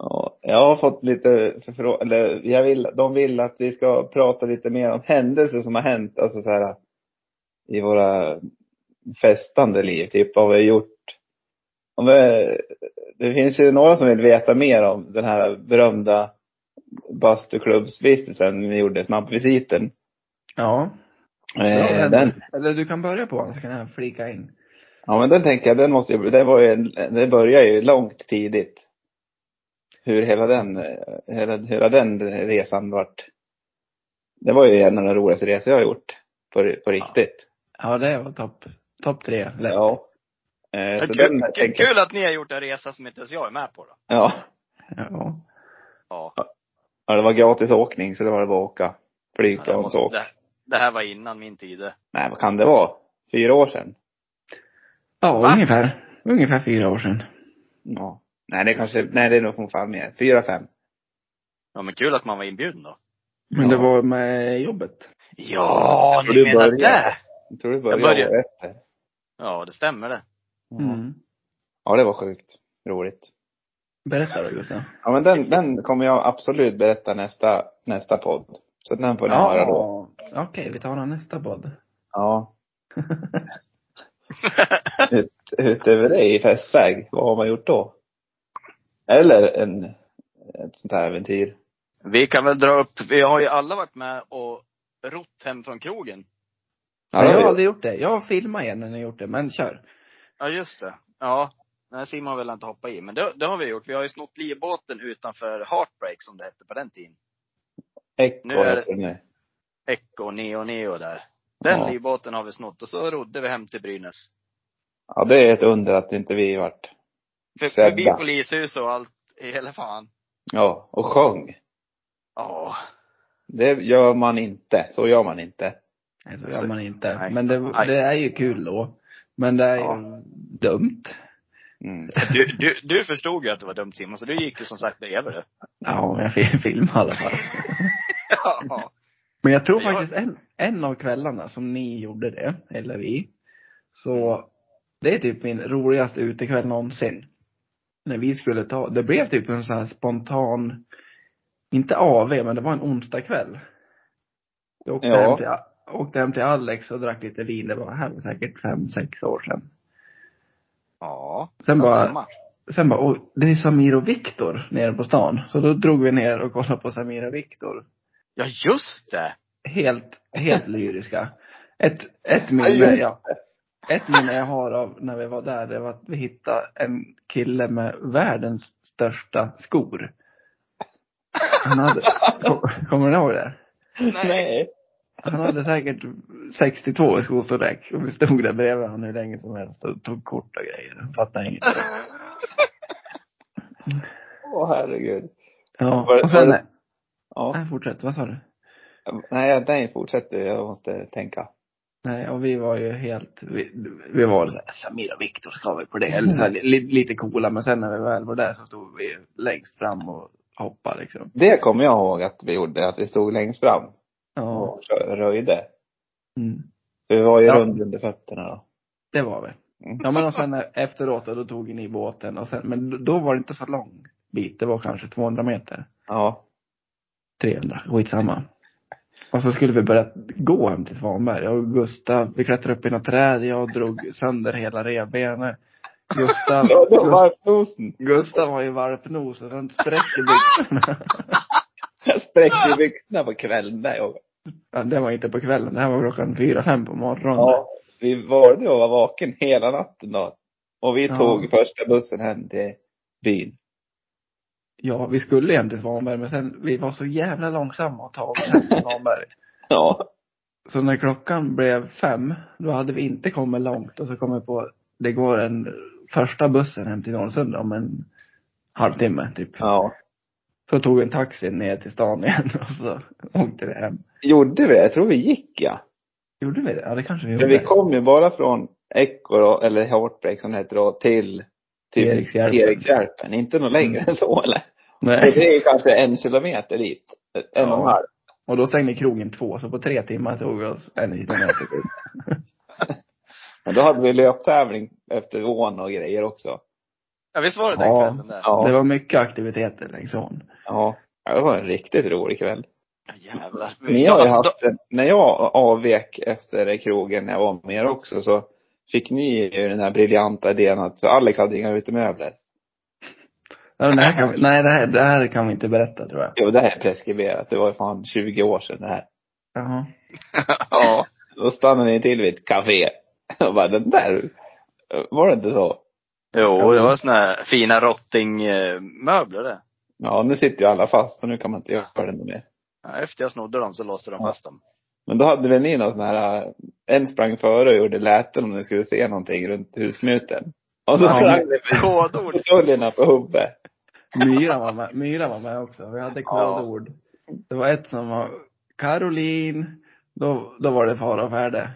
Speaker 2: Ja, jag har fått lite förfrå- eller jag vill, de vill att vi ska prata lite mer om händelser som har hänt, alltså så här i våra festande liv, typ vad vi har gjort. Om vi, det finns ju några som vill veta mer om den här berömda bastuklubbsvistelsen vi gjorde, snabbvisiten.
Speaker 1: ja.
Speaker 2: Eh,
Speaker 1: Ja,
Speaker 2: den,
Speaker 1: Eller du kan börja på honom så kan jag flika in.
Speaker 2: ja men den tänker jag, den måste ju, det var ju, en, det börjar ju långt tidigt. Hur hela den, eh, hela, hela den resan vart. Det var ju en av de roligaste resor jag har gjort. På, på riktigt.
Speaker 1: Ja, det var topp, topp tre. lätt.
Speaker 2: Ja. Eh, så den
Speaker 3: Kul, kul-
Speaker 2: tänker jag,
Speaker 3: kul att ni har gjort en resa som inte ens jag är med på då.
Speaker 2: ja.
Speaker 1: ja.
Speaker 3: Ja.
Speaker 2: ja, det var gratis åkning så det var det bara att åka.
Speaker 3: Ja, det, måste,
Speaker 2: Flygplansåk.
Speaker 3: det, det här var innan min tid. det.
Speaker 2: Nej, vad kan det vara? Fyra år sedan?
Speaker 1: Ja,
Speaker 3: Va?
Speaker 1: ungefär. Ungefär fyra år sedan.
Speaker 2: Ja. Nej, det kanske, nej det är nog från fan mer. Fyra, fem.
Speaker 3: Ja men kul att man var inbjuden då.
Speaker 1: Men
Speaker 2: Ja.
Speaker 1: det var med jobbet.
Speaker 3: Ja,
Speaker 2: Och
Speaker 3: ni
Speaker 2: du
Speaker 3: menar
Speaker 2: började.
Speaker 3: det?
Speaker 2: Jag tror det
Speaker 3: Jag
Speaker 2: började,
Speaker 3: började-
Speaker 2: året efter.
Speaker 3: Ja, det stämmer det.
Speaker 2: Ja.
Speaker 1: Mm.
Speaker 2: ja, det var sjukt roligt.
Speaker 1: Berätta då Gustav.
Speaker 2: Ja men den, den kommer jag absolut berätta nästa, nästa podd. Så den får ni höra då.
Speaker 1: Okej, vi tar den nästa podd.
Speaker 2: Ja. Ut, utöver det i festväg, vad har man gjort då? Eller en, ett sånt här äventyr.
Speaker 3: Vi kan väl dra upp, vi har ju alla varit med och rott hem från krogen.
Speaker 1: jag
Speaker 2: Ja, det
Speaker 1: har
Speaker 2: var ju-
Speaker 1: aldrig gjort det. Jag har filmat igen när ni har gjort det, men kör.
Speaker 3: Ja, just det. Ja. Nej, Simon vill inte hoppa i, men det, det har vi gjort. Vi har ju snott livbåten utanför Heartbreak som det hette på den tiden.
Speaker 2: Echo
Speaker 3: Nu är
Speaker 2: heter den nu.
Speaker 3: Echo, Neo, Neo där. Den
Speaker 2: Ja.
Speaker 3: livbåten har vi snott och så rodde vi hem till Brynäs.
Speaker 2: Ja det är ett under att inte vi vart.
Speaker 3: För,
Speaker 2: Sedda.
Speaker 3: förbi polishus och allt, i hela fan.
Speaker 2: Ja, och sjöng.
Speaker 3: Ja.
Speaker 2: Det gör man inte. Så gör man inte.
Speaker 1: Nej, så
Speaker 3: Så-
Speaker 1: gör man inte.
Speaker 3: Alltså, nej.
Speaker 1: Men det,
Speaker 3: Nej.
Speaker 1: det är ju kul då. Men det är ju
Speaker 3: Ja.
Speaker 1: dumt.
Speaker 2: Mm.
Speaker 3: Du, du, du förstod ju att det var dumt Simon, så du gick ju som sagt bredvid det.
Speaker 1: Ja, men jag fi- filmar i alla fall.
Speaker 3: Ja.
Speaker 1: Men jag tror
Speaker 3: Jag-
Speaker 1: faktiskt en, en av kvällarna som ni gjorde det, eller vi, så det är typ min roligaste utekväll någonsin. När vi skulle ta, det blev typ en sån här spontan, inte AV men det var en onsdagkväll. Jag åkte,
Speaker 2: Ja.
Speaker 1: hem till, åkte hem till Alex och drack lite vin, det var här var säkert fem, sex år sedan.
Speaker 3: Ja.
Speaker 1: Sen
Speaker 3: kan
Speaker 1: bara,
Speaker 3: stämma.
Speaker 1: sen bara, "Oj, det är Samir och Viktor nere på stan. Så då drog vi ner och kollade på Samir och Viktor.
Speaker 3: Ja, just det!
Speaker 1: helt, helt lyriska. Ett, ett
Speaker 2: Ja,
Speaker 1: minne
Speaker 2: just
Speaker 1: jag, ett minne jag har av när vi var där, det var att vi hittade en kille med världens största skor. Han hade, kom- kommer ni ihåg det?
Speaker 2: Nej.
Speaker 1: Han hade säkert 62 i skostorlek och vi stod där bredvid honom hur länge som helst och tog kort och grejer. Han fattade inget.
Speaker 2: Åh herregud.
Speaker 1: Ja,
Speaker 2: Var-
Speaker 1: och sen,
Speaker 2: var det- Ja.
Speaker 1: nej fortsätt, vad sa du?
Speaker 2: Nej, nej fortsätt du. Jag måste tänka.
Speaker 1: Nej, och vi var ju helt, vi, vi var så här, Samir och Viktor ska vi på det. Eller så här,
Speaker 2: Mm.
Speaker 1: li, lite coola, men sen när vi väl var där så stod vi längst fram och hoppade liksom.
Speaker 2: Det kommer jag ihåg att vi gjorde, att vi stod längst fram.
Speaker 1: Ja.
Speaker 2: och rö- röjde.
Speaker 1: Mm.
Speaker 2: Du var ju
Speaker 1: Ja.
Speaker 2: rund under fötterna då.
Speaker 1: Det var vi.
Speaker 2: Mm.
Speaker 1: Ja men och sen eh, efteråt då, då tog ni båten och sen, men då var det inte så lång bit. Det var kanske 200 meter.
Speaker 2: Ja.
Speaker 1: 300, skitsamma. Och så skulle vi börja gå hem till Svanberg. Jag och Gustav, vi klättrade upp i något träd. Jag drog sönder hela revbenet. Gustav,
Speaker 2: Då
Speaker 1: Gustav,
Speaker 2: var nosen.
Speaker 1: Gustav har ju valpnos och sen spräcker byxorna.
Speaker 2: Jag spräckte i byxorna på kvällen där jag.
Speaker 1: Ja, det var inte på kvällen. Det här var klockan fyra, fem på morgonen.
Speaker 2: Ja. Vi valde att vara vaken hela natten då. Och vi
Speaker 1: Ja.
Speaker 2: tog första bussen hem till byn.
Speaker 1: Ja, vi skulle hem till Svanberg men sen, vi var så jävla långsamma att ta oss hem till Svanberg.
Speaker 2: Ja.
Speaker 1: Så när klockan blev fem, då hade vi inte kommit långt och så kom vi på, det går en första bussen hem till Norrsunda om en halvtimme typ.
Speaker 2: Ja.
Speaker 1: Så tog vi en taxi ner till stan igen och så åkte vi hem.
Speaker 2: Gjorde vi? Jag tror vi gick ja.
Speaker 1: Gjorde vi det? Ja det kanske vi gjorde.
Speaker 2: För vi kom ju bara från Echo då, eller Heartbreak som det heter då, till typ
Speaker 1: Erikshjälpen. Mm.
Speaker 2: Erikshjälpen. Inte något längre än så eller? Och
Speaker 1: Nej.
Speaker 2: det är ju kanske en kilometer dit. En och en
Speaker 1: Ja.
Speaker 2: halv.
Speaker 1: Och då stängde krogen två, så på tre timmar tog vi oss en liten meter dit.
Speaker 2: Men då hade vi löptävling efter ån och grejer också.
Speaker 3: Ja, visst var det den
Speaker 1: Ja.
Speaker 3: kvällen där?
Speaker 1: Det
Speaker 2: Ja.
Speaker 1: var mycket aktiviteter längs ån.
Speaker 2: Ja. Ja, Det var en riktigt rolig kväll.
Speaker 3: Jävlar.
Speaker 2: Men jag har ju
Speaker 3: alltså,
Speaker 2: haft, en- när jag avvek efter krogen när jag var med er också så fick ni ju den här briljanta idén att, för Alex hade inga utemöbler.
Speaker 1: Ja, men det här kan vi, nej, det här, det här kan vi inte berätta tror jag.
Speaker 2: Jo, det här är preskriberat. Det var ju fan 20 år sedan det här.
Speaker 1: Jaha.
Speaker 2: Ja. Då stannade ni till vid ett café. Jag bara, den där, var det inte så?
Speaker 3: då- jo, det var såna här fina eh, rottingmöbler det.
Speaker 2: Ja, nu sitter ju alla fast så nu kan man inte göra det mer.
Speaker 3: Ja, efter jag snodde dem så låste de
Speaker 2: Ja.
Speaker 3: fast dem.
Speaker 2: Men då hade väl ni någon sån här, äh, en sprang före och gjorde läten om ni skulle se någonting runt husknuten. Och så
Speaker 1: Ja.
Speaker 2: sprang ni förbi
Speaker 3: Kodord.
Speaker 2: patrullerna på Hubbe.
Speaker 1: Myra var med, Myra var med också. Vi hade kodord. Det var ett som var Caroline. Då, då var det fara och färde.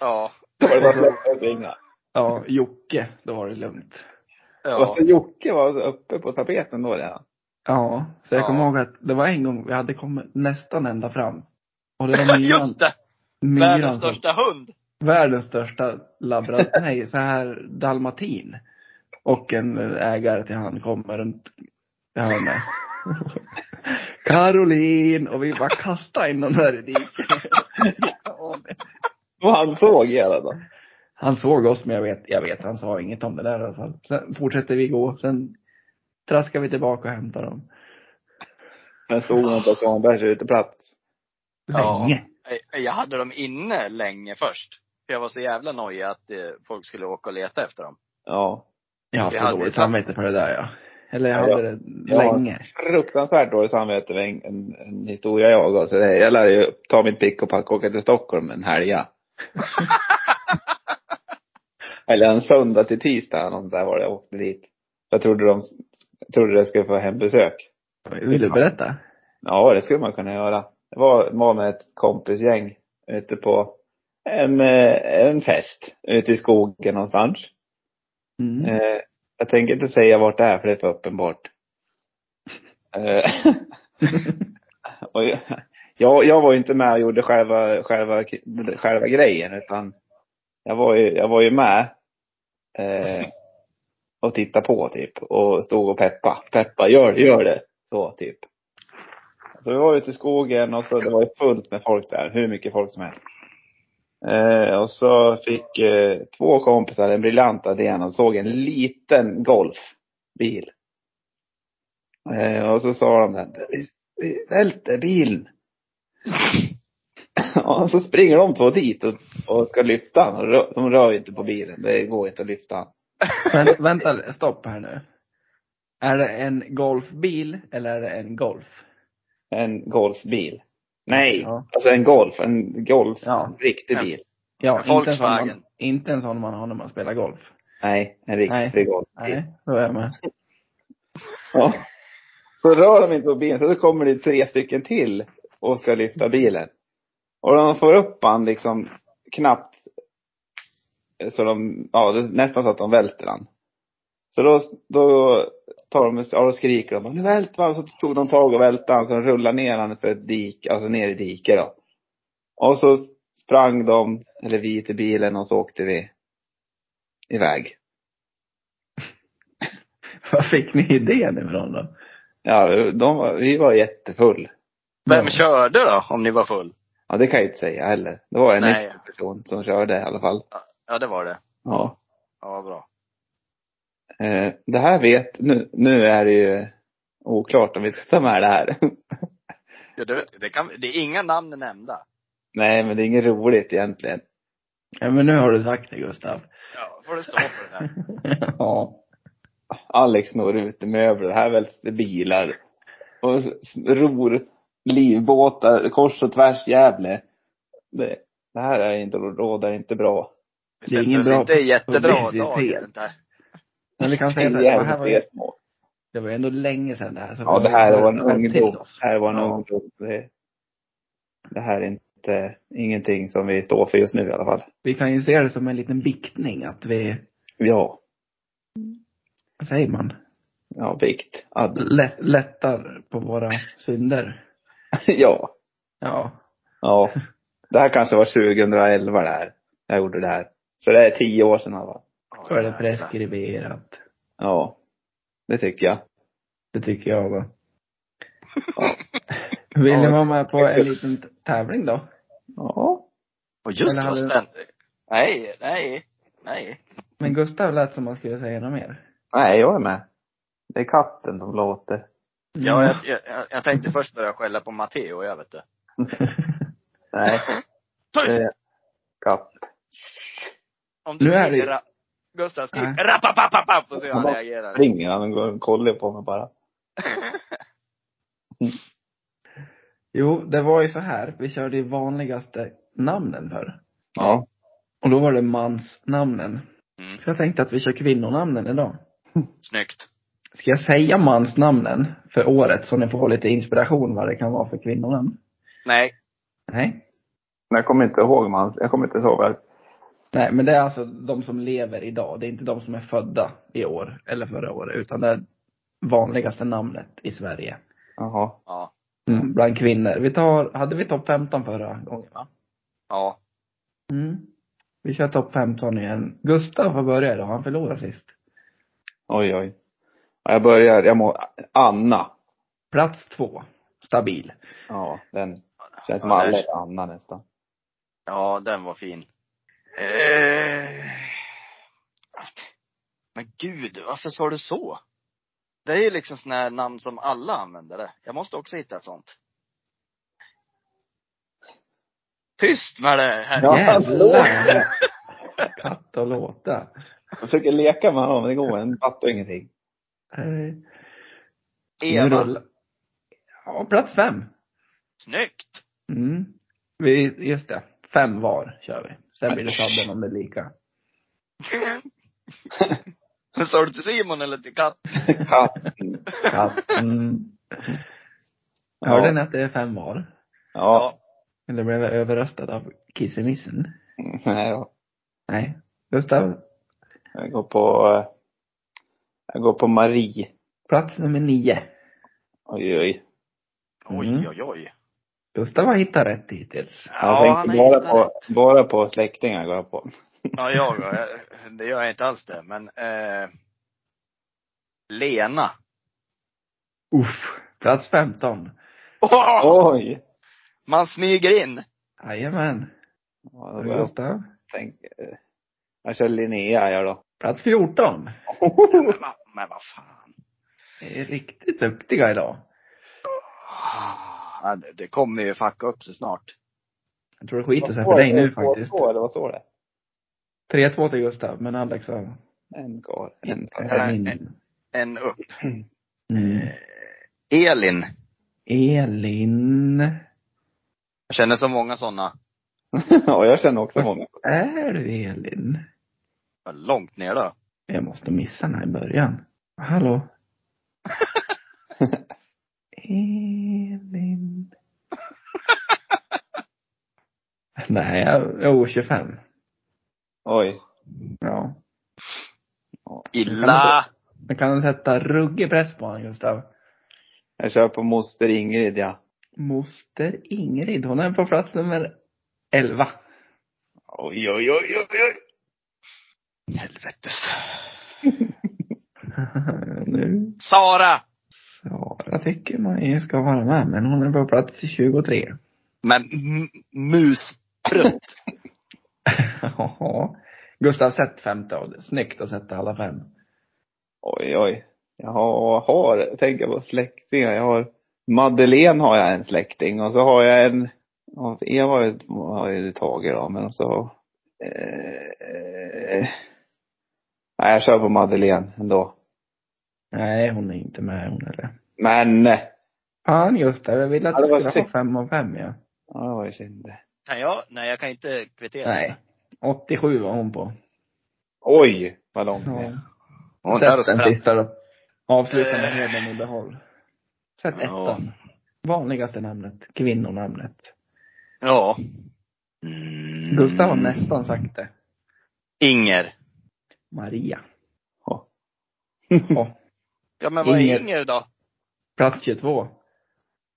Speaker 3: Ja.
Speaker 2: Då var det bara att släppa och springa.
Speaker 1: Ja, Jocke, då var det lugnt.
Speaker 2: Och
Speaker 3: Ja.
Speaker 2: så Jocke var uppe på tapeten då redan.
Speaker 1: Ja, så jag
Speaker 3: Ja.
Speaker 1: kommer ihåg att det var en gång vi hade kommit nästan ända fram. Och det var Myran,
Speaker 3: Just det!
Speaker 1: myran
Speaker 3: Världens
Speaker 1: som,
Speaker 3: största hund!
Speaker 1: världens största labrador, nej så här dalmatin. Och en ägare till han kommer runt hörnet. Caroline! Och vi bara kastade in dem där i diket.
Speaker 2: Och han såg er då.
Speaker 1: Han såg oss, men jag vet, jag vet, han sa inget om det där i alla fall. Sen fortsätter vi gå, sen traskar vi tillbaka och hämtar dem.
Speaker 2: Men stod han på Svanbergs uteplats.
Speaker 3: Ja.
Speaker 1: Länge.
Speaker 3: Jag- Jag hade dem inne länge först. För jag var så jävla nojig att eh, folk skulle åka och leta efter dem.
Speaker 2: Ja.
Speaker 1: Jag har haft
Speaker 3: Vi
Speaker 1: så
Speaker 3: hade
Speaker 1: dåligt
Speaker 3: ju-
Speaker 1: samvete för det där ja. Eller jag
Speaker 2: Ja,
Speaker 1: hade det
Speaker 2: ja.
Speaker 1: länge.
Speaker 2: Fruktansvärt dåligt samvete med en, en, en historia jag alltså. Det- Jag lär ju ta mitt pick och pack och åka till Stockholm en helg. ja. Eller en söndag till tisdag eller något där var det jag åkte dit. Jag trodde de, trodde jag skulle få hembesök.
Speaker 1: Vill du berätta?
Speaker 2: Ja, det skulle man kunna göra. Jag var, var med ett kompisgäng ute på en, eh, en fest ute i skogen någonstans.
Speaker 1: Mm.
Speaker 2: Eh, jag tänker inte säga vart det är för det är för uppenbart. Eh, och jag- jag, jag var ju inte med och gjorde själva, själva, själva grejen utan jag var ju, jag var ju med eh, och tittade på typ och stod och peppa. Peppa, gör det, gör det. Så typ. Så vi var ute i skogen och så det var ju fullt med folk där, hur mycket folk som helst. Eh, och så fick eh, två kompisar en briljant idé och såg en liten golfbil. Eh, och så sa de den, vi, vi välter bilen. och så springer de två dit och, och ska lyfta han. Och rö- De rör ju inte på bilen, det går inte att lyfta han.
Speaker 1: Vänt, vänta, stopp här nu. Är det en golfbil eller är det en golf?
Speaker 2: En golfbil. Nej,
Speaker 1: Ja.
Speaker 2: alltså en golf, en golf,
Speaker 1: Ja.
Speaker 2: riktig
Speaker 3: Ja.
Speaker 2: bil.
Speaker 1: Ja,
Speaker 3: En
Speaker 1: inte en, sån
Speaker 3: Volkswagen.
Speaker 1: man, inte en sån man har när man spelar golf.
Speaker 2: Nej, en riktig
Speaker 1: Nej.
Speaker 2: golfbil.
Speaker 1: Nej, då är jag med.
Speaker 2: Ja. Så rör de inte på bilen, så då kommer det tre stycken till och ska lyfta bilen. Och de får upp han liksom knappt eh, så de, ja det är nästan så att de välter han. Så då, då tar de, ja då skriker de nu välter han, så tog de tag och välte han, så de rullar ner han för ett dik, alltså ner i diket då. Och så sprang de, eller vi till bilen och så åkte vi iväg.
Speaker 1: Var fick ni idén ifrån då?
Speaker 2: Ja, de var, vi var jättefull.
Speaker 3: Vem
Speaker 1: Ja.
Speaker 3: körde då, om ni var full?
Speaker 2: Ja, det kan jag inte säga heller. Det var en
Speaker 3: Nej.
Speaker 2: nykter person som körde i alla fall.
Speaker 3: Ja, det var det.
Speaker 2: Ja.
Speaker 3: Ja, vad bra.
Speaker 2: Eh, det här vet, nu, nu är det ju oklart om vi ska ta med det här.
Speaker 3: Ja, det, det, kan, det är inga namn nämnda.
Speaker 2: Nej, men det är inget roligt egentligen.
Speaker 1: Ja, men nu har du sagt det Gustav.
Speaker 3: Ja, får du stå för det där.
Speaker 1: ja.
Speaker 2: Alex snor ut möbler, här väljs det bilar. Och s- s- ror livbåtar kors och tvärs Gävle. Det, det här är inte, råd är inte bra.
Speaker 1: Det
Speaker 3: Vi
Speaker 1: är
Speaker 3: sätter
Speaker 1: ingen
Speaker 3: oss
Speaker 1: bra
Speaker 3: inte i jättebra
Speaker 1: publicitet.
Speaker 3: dag i den där.
Speaker 1: Men vi kan säga så
Speaker 2: Det
Speaker 1: här, det här var ju,
Speaker 2: är små.
Speaker 1: det var ju ändå länge sedan det här. Så
Speaker 2: Ja,
Speaker 1: vi-
Speaker 2: det här var en
Speaker 1: vi- vi-
Speaker 2: ungdom. Det här var en
Speaker 1: Ja.
Speaker 2: ungdom. Det, det här är inte, ingenting som vi står för just nu i alla fall.
Speaker 1: Vi kan ju se det som en liten biktning att vi,
Speaker 2: Ja,
Speaker 1: vad säger man?
Speaker 2: ja, vikt. Ad,
Speaker 1: Lätt, lättar på våra synder.
Speaker 2: ja.
Speaker 1: Ja.
Speaker 2: Ja. Det här kanske var 2011 det här. Jag gjorde det här. Så det är tio år sedan i alla fall.
Speaker 3: Ja,
Speaker 1: Så är det
Speaker 3: jävlar.
Speaker 1: preskriberat.
Speaker 2: Ja. Det tycker jag.
Speaker 1: Det tycker jag då.
Speaker 2: Ja.
Speaker 1: Vill ni
Speaker 2: Ja.
Speaker 1: vara med på en liten t- tävling då?
Speaker 2: Ja.
Speaker 3: Och just
Speaker 1: Eller
Speaker 3: vad
Speaker 1: hade-
Speaker 3: spännande. Nej, nej, nej.
Speaker 1: Men Gustav lät som han skulle säga något mer.
Speaker 2: Nej, jag är med. Det är katten som låter.
Speaker 3: Ja,
Speaker 1: Mm.
Speaker 3: jag, jag- jag, jag tänkte först börja skälla på Matteo, jag vet det.
Speaker 2: Nej, det är katt.
Speaker 3: Om
Speaker 1: Nu
Speaker 3: du
Speaker 1: är det-
Speaker 3: skriker, ra- Gustav
Speaker 1: Nej.
Speaker 3: skriker rappapapapapp och så jag
Speaker 2: Ja.
Speaker 3: reagerar.
Speaker 2: Ringer han och går och kollar på mig bara.
Speaker 1: Jo, det var ju så här. Vi körde ju vanligaste namnen förr.
Speaker 2: Ja.
Speaker 1: Och då var det mansnamnen.
Speaker 3: Mm.
Speaker 1: Så jag tänkte att vi kör kvinnonamnen idag.
Speaker 3: Snyggt.
Speaker 1: Ska jag säga mansnamnen för året så ni får lite inspiration vad det kan vara för kvinnonamn?
Speaker 3: Nej.
Speaker 1: Nej.
Speaker 2: Men jag kommer inte ihåg man. Jag kommer inte ihåg. vad-
Speaker 1: Nej, men det är alltså de som lever idag. Det är inte de som är födda i år eller förra året, utan det är vanligaste namnet i Sverige.
Speaker 2: Jaha.
Speaker 3: Ja.
Speaker 1: Mm, bland kvinnor. Vi tar, hade vi topp 15 förra gången va?
Speaker 3: Ja.
Speaker 1: Mm. Vi kör topp 15 igen. Gustav får börja idag, han förlorade sist.
Speaker 2: Oj, oj. Ja, Jag börjar. Jag må... Anna.
Speaker 1: Plats två. Stabil.
Speaker 2: Ja, den känns som
Speaker 3: Ja,
Speaker 2: alla
Speaker 3: där-
Speaker 2: är Anna nästan.
Speaker 3: Ja, den var fin. Eh... Men gud, varför sa du så? Det är ju liksom sådana här namn som alla använder det. Jag måste också hitta ett sånt. Tyst med det här!
Speaker 2: Ja,
Speaker 1: Jävlar! Katt och låta.
Speaker 2: Jag försöker leka med honom, men det går en fattar ingenting.
Speaker 1: Eh, nu
Speaker 3: Eva.
Speaker 1: rullar- Ja, plats fem.
Speaker 3: Snyggt!
Speaker 1: Mm. Vi, just det. Fem var kör vi. Sen blir det sabben om det är lika.
Speaker 3: Sa du till Simon eller till katt?
Speaker 2: Katten.
Speaker 1: Katt. Mm. Hörde ni att det är fem var?
Speaker 2: Ja.
Speaker 1: Eller blev jag överröstad av kissemissen?
Speaker 2: Nej då.
Speaker 1: Nej. Gustav,
Speaker 2: Jag går på, eh, jag går på Marie.
Speaker 1: plats nummer nio.
Speaker 2: Oj, oj.
Speaker 1: Mm.
Speaker 3: Oj, oj, oj.
Speaker 1: Gustav har hittat rätt hittills.
Speaker 2: Jag
Speaker 3: han
Speaker 2: tänkte bara
Speaker 3: hittat
Speaker 2: på,
Speaker 3: rätt.
Speaker 2: bara på släktingar går jag på.
Speaker 3: Ja, jag, jag- det gör jag inte alls det, men eh, Lena.
Speaker 1: Uff. Plats 15.
Speaker 3: Åh!
Speaker 2: Oj!
Speaker 3: Man smyger in.
Speaker 1: Jajamän.
Speaker 2: Ja, då
Speaker 1: Och
Speaker 2: börjar jag,
Speaker 1: Gustav.
Speaker 2: tänka, eh, jag kör Linnea jag då.
Speaker 1: Plats 14.
Speaker 3: Men, va, men vad fan.
Speaker 1: Ni är riktigt duktiga idag.
Speaker 3: Ah, ja, det- det kommer ju fucka upp sig snart.
Speaker 1: Jag tror det skiter sig för dig nu faktiskt.
Speaker 2: Två, eller vad står det?
Speaker 1: 3-2 till Gustav, men Alex har
Speaker 2: En kvar. En
Speaker 1: inte
Speaker 2: kvar.
Speaker 3: Nej.
Speaker 1: in.
Speaker 3: En upp.
Speaker 1: Mm.
Speaker 3: Eh, Elin.
Speaker 1: Elin.
Speaker 3: Jag känner så många sådana.
Speaker 2: Ja, jag känner också många.
Speaker 1: Är du Elin?
Speaker 3: Långt ner då.
Speaker 1: Jag måste missa den här i början. Hallå? Elin. Nej, jag, jo, 25.
Speaker 2: Oj.
Speaker 1: Ja.
Speaker 3: Illa!
Speaker 1: Men kan du sätta ruggig press på honom, Gustav?
Speaker 2: Jag kör på moster Ingrid ja.
Speaker 1: Moster Ingrid, hon är på plats nummer 11.
Speaker 3: Oj, oj, oj, oj, oj. Helvetes.
Speaker 1: nu
Speaker 3: Sara!
Speaker 1: Sara tycker man ju ska vara med, men hon är på plats 23.
Speaker 3: Men m- musprutt.
Speaker 1: Jaha. Gustav sett femte av det. Snyggt att sätta alla fem.
Speaker 2: Oj, oj. Jag har, har tänker på släktingar. Jag har Madeleine har jag en släkting och så har jag en, ja, Eva har ju- har ju tagit då, men så, eh, eh, nej jag kör på Madeleine ändå.
Speaker 1: Nej, hon är inte med hon eller.
Speaker 2: Men, eh,
Speaker 1: Fan Gustav, jag ville att
Speaker 2: Ja,
Speaker 1: du
Speaker 2: det var
Speaker 1: skulle ha
Speaker 2: synd.
Speaker 1: fem av fem ja.
Speaker 2: ja det var ju synd det.
Speaker 4: Kan jag? Nej, jag kan inte kvittera.
Speaker 1: Nej. 87 var hon på.
Speaker 2: Oj, vad långt det är.
Speaker 1: Ja.
Speaker 3: Hon där och
Speaker 1: Sätt
Speaker 3: sprang.
Speaker 1: den sista då. Avsluta med
Speaker 3: Eh.
Speaker 1: hedern i behåll. Sätt
Speaker 3: Ja.
Speaker 1: ettan. Vanligaste namnet. Kvinnonamnet.
Speaker 3: Ja.
Speaker 4: Mm.
Speaker 3: Mm.
Speaker 1: Gustav har nästan sagt det.
Speaker 3: Inger.
Speaker 1: Maria.
Speaker 2: Ja.
Speaker 1: Ja.
Speaker 4: Ja, men vad är
Speaker 1: Inger.
Speaker 4: Inger, då?
Speaker 1: Plats 22.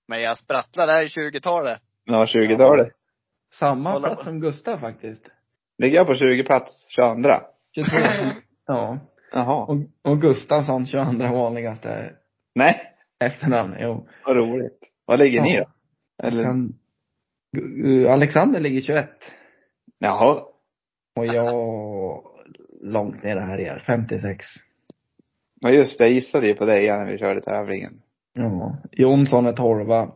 Speaker 4: Men jag sprattlar där i 20-talet.
Speaker 2: Ja, 20-talet.
Speaker 1: Samma
Speaker 4: Kolla
Speaker 1: plats
Speaker 4: på.
Speaker 1: som Gustav faktiskt.
Speaker 2: Ligger jag på 20 plats 22?
Speaker 1: 22. ja.
Speaker 2: Jaha.
Speaker 1: Och, och Gustavsson 22 vanligaste
Speaker 2: Nej,
Speaker 1: efternamn. Jo.
Speaker 2: vad roligt. Var ligger ni då? Eller,
Speaker 1: Kan, Gu- Gu- Alexander ligger 21.
Speaker 2: jaha.
Speaker 1: Och jag långt nere här är 56.
Speaker 2: Ja just det, jag gissade ju på dig ja, när vi körde tävlingen.
Speaker 1: Ja. Jonsson är 12.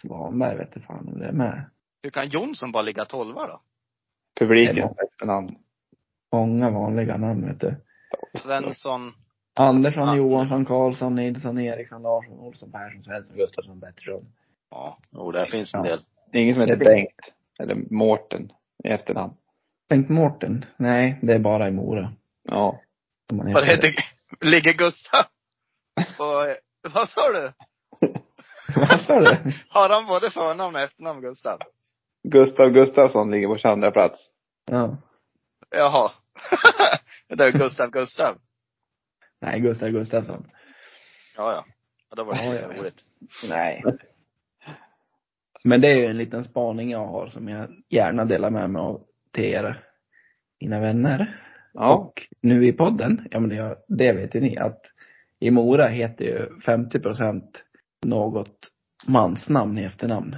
Speaker 1: Svanberg vet du fan om det är med.
Speaker 4: Hur kan Jonsson bara ligga 12 då?
Speaker 2: Publiken
Speaker 1: Det var-
Speaker 2: sätter namn.
Speaker 1: Många vanliga namn vet du.
Speaker 4: Svensson.
Speaker 1: Andersson,
Speaker 4: Ja.
Speaker 1: Johansson, Karlsson, Nilsson, Eriksson, Larsson, Olsson, Persson, Svensson, Gustafsson, Pettersson.
Speaker 4: Ja, jo, där finns en
Speaker 1: Ja.
Speaker 4: del.
Speaker 2: Det är ingen som heter
Speaker 1: Det blir-
Speaker 2: Bengt. Eller Mårten i efternamn.
Speaker 1: Bengt Mårten? Nej, det är bara i Mora.
Speaker 2: Ja.
Speaker 1: som man
Speaker 4: Vad
Speaker 1: heter.
Speaker 4: heter, ligger Gustav på, eh, vad sa du?
Speaker 1: Vad sa du?
Speaker 4: Har han både förnamn och efternamn Gustav?
Speaker 2: Gustav Gustafsson ligger på 22 plats.
Speaker 1: Ja.
Speaker 4: Jaha. det är Gustav Gustav.
Speaker 1: Nej, Gustav Gustafsson.
Speaker 4: Ja, ja. ja då var det
Speaker 1: Ja,
Speaker 4: lika
Speaker 1: ja, ja.
Speaker 4: roligt.
Speaker 1: Nej. Men det är ju en liten spaning jag har som jag gärna delar med mig av till er, mina vänner.
Speaker 2: Ja.
Speaker 1: Och nu i podden, ja men det, det vet ju ni att i Mora heter ju 50 procent något mansnamn i efternamn.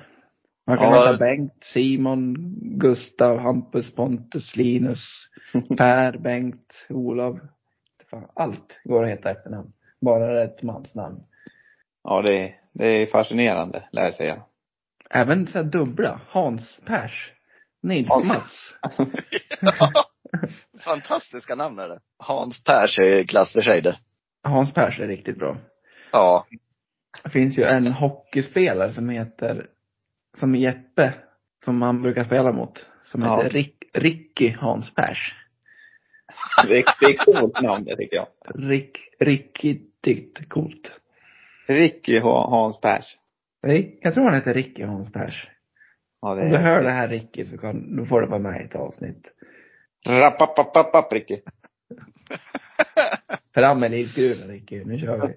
Speaker 1: Man kan
Speaker 2: Ja.
Speaker 1: heta Bengt, Simon, Gustav, Hampus, Pontus, Linus, Per, Bengt, Olof. Fan, allt går att heta efternamn. Bara det är ett mansnamn.
Speaker 2: Ja, det är, det är fascinerande, lär jag säga.
Speaker 1: Även så här dubbla. Hans Pers. Nils
Speaker 2: Hans.
Speaker 1: Mats.
Speaker 4: Fantastiska namn är det.
Speaker 3: Hans Pers är i klass för sig det.
Speaker 1: Hans Pers är riktigt bra.
Speaker 3: Ja.
Speaker 1: Det finns ju en hockeyspelare som heter, som är Jeppe, som han brukar spela mot. Som
Speaker 2: Ja.
Speaker 1: heter Rick, Ricky Hans Pers.
Speaker 2: Det är, det är coolt namn, det tycker jag.
Speaker 1: Rick, riktigt coolt.
Speaker 2: Ricky H- Hans Pers.
Speaker 1: Rick- Jag tror han heter Ricky Hans Pers.
Speaker 2: Ja, det
Speaker 1: Om du hör
Speaker 2: är...
Speaker 1: det här Ricky så kan, då får du vara med i ett avsnitt.
Speaker 2: Rappapapapapp, Ricky.
Speaker 1: Fram med livsgruvan Ricky, nu kör vi.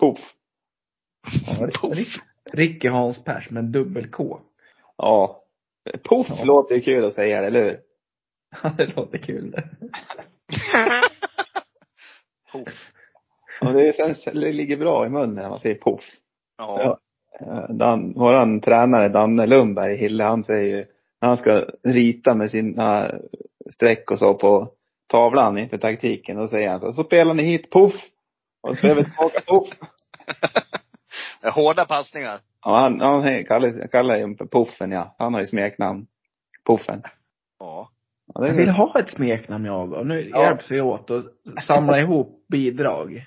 Speaker 2: Poff.
Speaker 1: Ja, Rick, Ricky Hans Pers med dubbel K.
Speaker 2: Ja. Poff
Speaker 1: Ja.
Speaker 2: låter ju kul att säga, eller hur?
Speaker 1: Ja, det låter kul det.
Speaker 2: Och det, känns, det ligger bra i munnen när man säger poff.
Speaker 4: Ja.
Speaker 2: Eh, Dan, våran tränare Danne Lundberg i Hille, han säger ju, när han ska rita med sina streck och så på tavlan inför taktiken, då säger han så, så spelar ni hit, poff! Och spelar vi tillbaka, poff!
Speaker 4: Hårda passningar.
Speaker 2: Ja, han, han kallar, kallar ju för Puffen ja. Han har ju smeknamn. Puffen.
Speaker 4: Ja.
Speaker 2: Ja, det
Speaker 1: Jag
Speaker 2: är
Speaker 1: vill ha ett smeknamn jag och nu
Speaker 2: Ja.
Speaker 1: hjälps vi åt att samla ihop bidrag.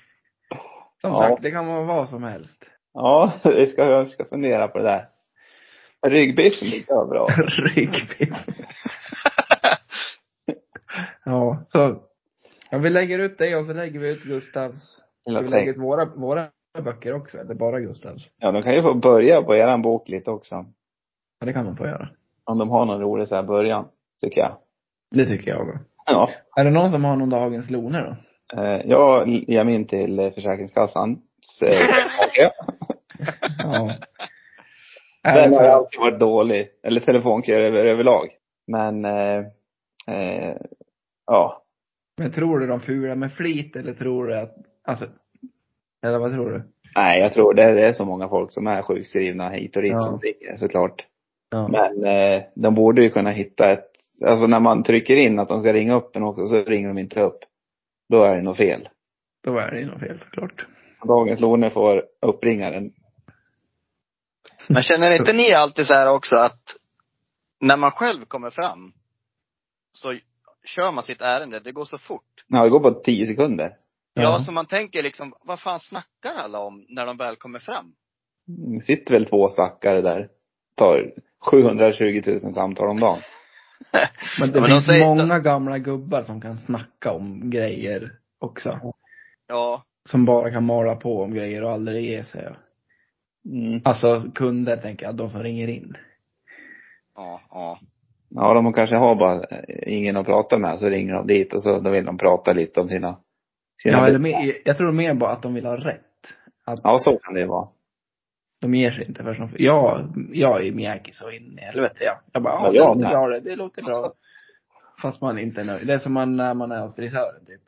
Speaker 1: Som
Speaker 2: Ja.
Speaker 1: sagt, det kan vara vad som helst.
Speaker 2: ja vi ska, jag ska fundera på det där. Ryggbiffen gick jag bra.
Speaker 1: Ryggbiff. ja, så. Ja, vi lägger ut det och så lägger vi ut Gustavs. Ska
Speaker 2: Eller
Speaker 1: vi
Speaker 2: tänk-
Speaker 1: lägger ut våra, våra böcker också, eller bara Gustavs?
Speaker 2: Ja, de kan ju få börja på eran bok lite också.
Speaker 1: Ja, det kan man få göra.
Speaker 2: Om de har någon rolig så här början, tycker jag.
Speaker 1: Det tycker jag. också.
Speaker 2: Ja.
Speaker 1: Är det någon som har någon dagens Lone då?
Speaker 2: Eh, Jag ger mig in eh, till eh, Försäkringskassan. Så-
Speaker 1: Ja.
Speaker 2: Den har ju alltid varit dålig. Eller telefonköer över, överlag. Men, eh, eh, ja.
Speaker 1: Men tror du de fular med flit eller tror du att, alltså, eller vad tror du?
Speaker 2: Nej, jag tror det, det är så många folk som är sjukskrivna hit och dit
Speaker 1: Ja.
Speaker 2: som ligger såklart.
Speaker 1: Ja.
Speaker 2: Men eh, de borde ju kunna hitta ett, alltså när man trycker in att de ska ringa upp en också så ringer de inte upp. Då är det något fel.
Speaker 1: Då är det ju något fel såklart.
Speaker 2: Dagens Lone får uppringaren.
Speaker 3: Men känner inte ni alltid så här också att när man själv kommer fram så kör man sitt ärende, det går så fort.
Speaker 2: Ja, det går på tio sekunder.
Speaker 3: Ja,
Speaker 1: Ja.
Speaker 3: så man tänker liksom, vad fan snackar alla om när de väl kommer fram?
Speaker 2: Det sitter väl två stackare där. Tar 720 000 samtal om dagen.
Speaker 1: Men det
Speaker 3: Ja, men de
Speaker 1: finns
Speaker 3: säger-
Speaker 1: många gamla gubbar som kan snacka om grejer också.
Speaker 3: Ja,
Speaker 1: Som bara kan mala på om grejer och aldrig ge sig.
Speaker 2: Mm.
Speaker 1: Alltså kunder tänker jag, de som ringer in.
Speaker 3: ja, ja.
Speaker 2: Ja, de kanske har bara eh, ingen att prata med så ringer de dit och så då vill de prata lite om sina, sina
Speaker 1: Ja, eller mer, jag tror mer bara att de vill ha rätt. Att
Speaker 2: Ja, så kan det ju vara.
Speaker 1: de ger sig inte förrän de Ja, jag är mjäkig så in i helvete ja. Jag bara, ja,
Speaker 2: Ja,
Speaker 1: det
Speaker 2: jag med.
Speaker 1: låter bra det, det låter bra. Fast man inte är nöjd. Det är som man, när man är hos frisören typ.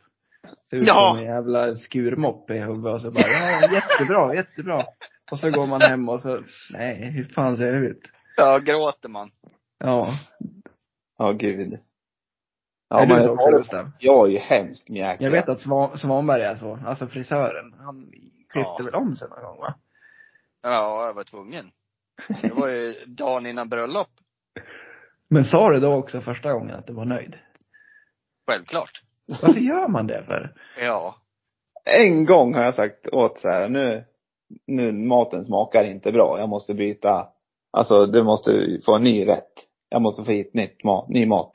Speaker 1: Ser ut
Speaker 3: Ja.
Speaker 1: som en jävla skurmopp i huvudet och så bara, ja jättebra, jättebra. Och så går man hem och så, nej hur fan ser det ut?
Speaker 3: Ja, gråter man.
Speaker 1: Ja.
Speaker 2: Ja, gud.
Speaker 1: är du
Speaker 2: men-
Speaker 1: så också Gustav?
Speaker 2: Jag är ju hemsk mjäkig.
Speaker 1: Jag vet att Svan, Svanberg är så. Alltså frisören, han klippte
Speaker 3: Ja.
Speaker 1: väl om sig någon gång va?
Speaker 3: Ja, jag var tvungen. Det var ju dagen innan bröllop,
Speaker 1: Men sa du då också första gången att du var nöjd?
Speaker 3: självklart.
Speaker 1: Varför gör man det för?
Speaker 3: Ja,
Speaker 2: En gång har jag sagt åt så här, nu, nu maten smakar inte bra. Jag måste byta, alltså du måste få en ny rätt. Jag måste få hit nytt mat, ny mat.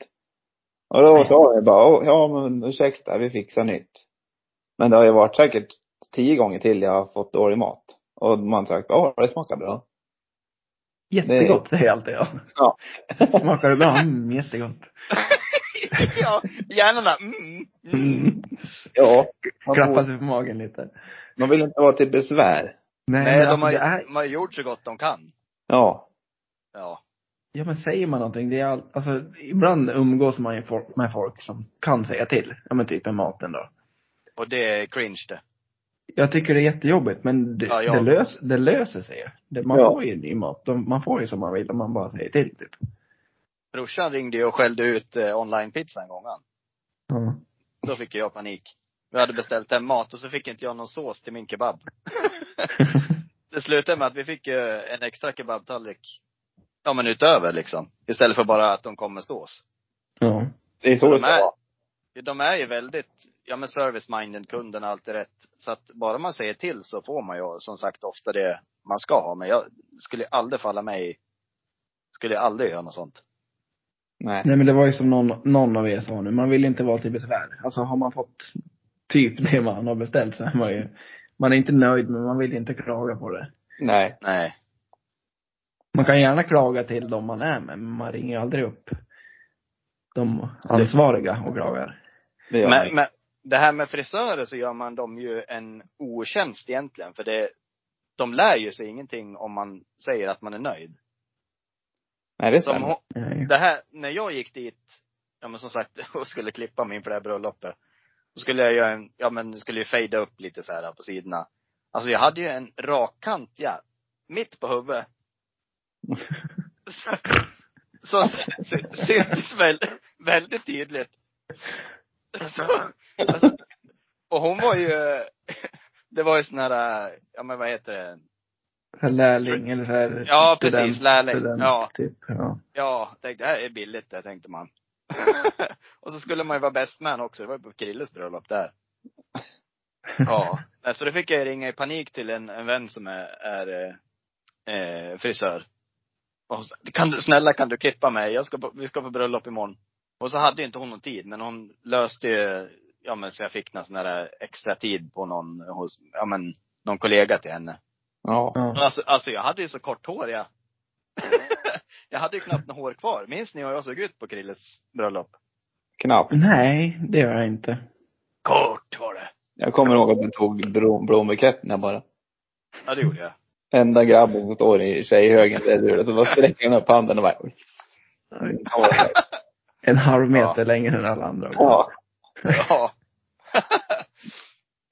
Speaker 2: Och då sa jag bara, "Åh, ja men ursäkta, vi fixar nytt. Men det har ju varit säkert tio gånger till jag har fått dålig mat. Och man har sagt, ja det smakar bra.
Speaker 1: Jättegott säger alltid jag.
Speaker 2: Ja.
Speaker 1: Smakar det bra? Mm, jättegott.
Speaker 3: ja hjärnorna, mm, mm.
Speaker 1: Mm.
Speaker 2: Ja. Man,
Speaker 1: Klappar
Speaker 2: borde,
Speaker 1: sig på magen lite.
Speaker 2: man vill inte vara till besvär.
Speaker 1: Nej,
Speaker 3: Nej,
Speaker 1: men
Speaker 3: de
Speaker 1: alltså,
Speaker 3: har, ju-
Speaker 1: det är,
Speaker 3: de har ju gjort så gott de kan.
Speaker 2: Ja.
Speaker 3: Ja.
Speaker 1: ja men säger man någonting, det är all, alltså ibland umgås man ju folk, med folk som kan säga till. Ja men typ med maten då.
Speaker 3: Och det är cringe det.
Speaker 1: Jag tycker det är jättejobbigt men det,
Speaker 3: Ja, jag-
Speaker 1: det, lös, det löser sig ju. Det- Man
Speaker 2: Ja.
Speaker 1: får ju ny mat. De, man får ju som man vill om man bara säger till typ.
Speaker 3: Brorsan ringde ju och skällde ut eh, online-pizza en gång han.
Speaker 1: Ja.
Speaker 3: Då fick jag panik. Vi hade beställt hem mat och så fick inte jag någon sås till min kebab. det slutade med att vi fick eh, en extra kebabtallrik. Ja men utöver liksom. Istället för bara att de kom med sås.
Speaker 1: ja.
Speaker 2: Det är så det
Speaker 3: De
Speaker 2: ska
Speaker 3: är,
Speaker 2: vara.
Speaker 3: de är ju väldigt, ja men service-minded, kunden har alltid rätt. Så att bara man säger till så får man ju som sagt ofta det man ska ha. Men jag skulle aldrig falla mig i- skulle aldrig göra något sånt.
Speaker 2: Nej.
Speaker 1: Nej men det var ju som någon, någon av er sa nu, man vill inte vara till besvär. Alltså har man fått typ det man har beställt så är man ju, man är inte nöjd men man vill inte klaga på det.
Speaker 2: Nej.
Speaker 3: Nej.
Speaker 1: Man kan gärna klaga till de man är med, men man ringer ju aldrig upp de ansvariga och klagar.
Speaker 2: Det gör man
Speaker 3: Men,
Speaker 2: inte.
Speaker 3: men det här med frisörer så gör man dem ju en otjänst egentligen. För det, de lär ju sig ingenting om man säger att man är nöjd.
Speaker 2: Nej, det
Speaker 3: Som,
Speaker 2: stämmer.
Speaker 3: hon-
Speaker 1: Nej.
Speaker 3: det här, när jag gick dit, ja men som sagt, och skulle klippa mig på det här bröllopet. Då skulle jag göra en, ja men skulle ju fejda upp lite så här på sidorna. Alltså jag hade ju en rakkant, ja, mitt på huvudet. Så- Som sy- syntes väl, väldigt tydligt. Så, alltså, och hon var ju, det var ju sån här, ja men vad heter det?
Speaker 1: Så här Lärling eller så här
Speaker 3: Ja precis, lärling.
Speaker 1: student,
Speaker 3: Ja.
Speaker 1: typ. Ja.
Speaker 3: Ja, tänkte, det här är billigt det, tänkte man. och så skulle man ju vara best man också. Det var ju på Krilles bröllop där. Ja. Nej, Så då fick jag ringa i panik till en, en vän som är, är eh, eh, frisör. Och hon sa, kan du, snälla kan du klippa mig? Jag ska på, vi ska på bröllop imorgon. Och så hade ju inte hon någon tid, men hon löste ju, ja men så jag fick någon sån där extra tid på någon, hos, ja men, någon kollega till henne.
Speaker 2: Ja.
Speaker 1: ja.
Speaker 3: Men Alltså, alltså jag hade ju så kort hår jag. jag hade ju knappt något hår kvar. Minns ni hur jag såg ut på Krilles bröllop?
Speaker 2: Knappt.
Speaker 1: Nej, det gör jag inte.
Speaker 3: Kort var det!
Speaker 2: Jag kommer ihåg att du tog blom, blombuketterna bara.
Speaker 3: Ja det gjorde jag.
Speaker 2: Enda grabben som står i tjejhögen, det är du. Så bara sträcker han upp handen och bara...
Speaker 1: En halv meter längre än alla andra.
Speaker 2: Ja.
Speaker 3: Ja.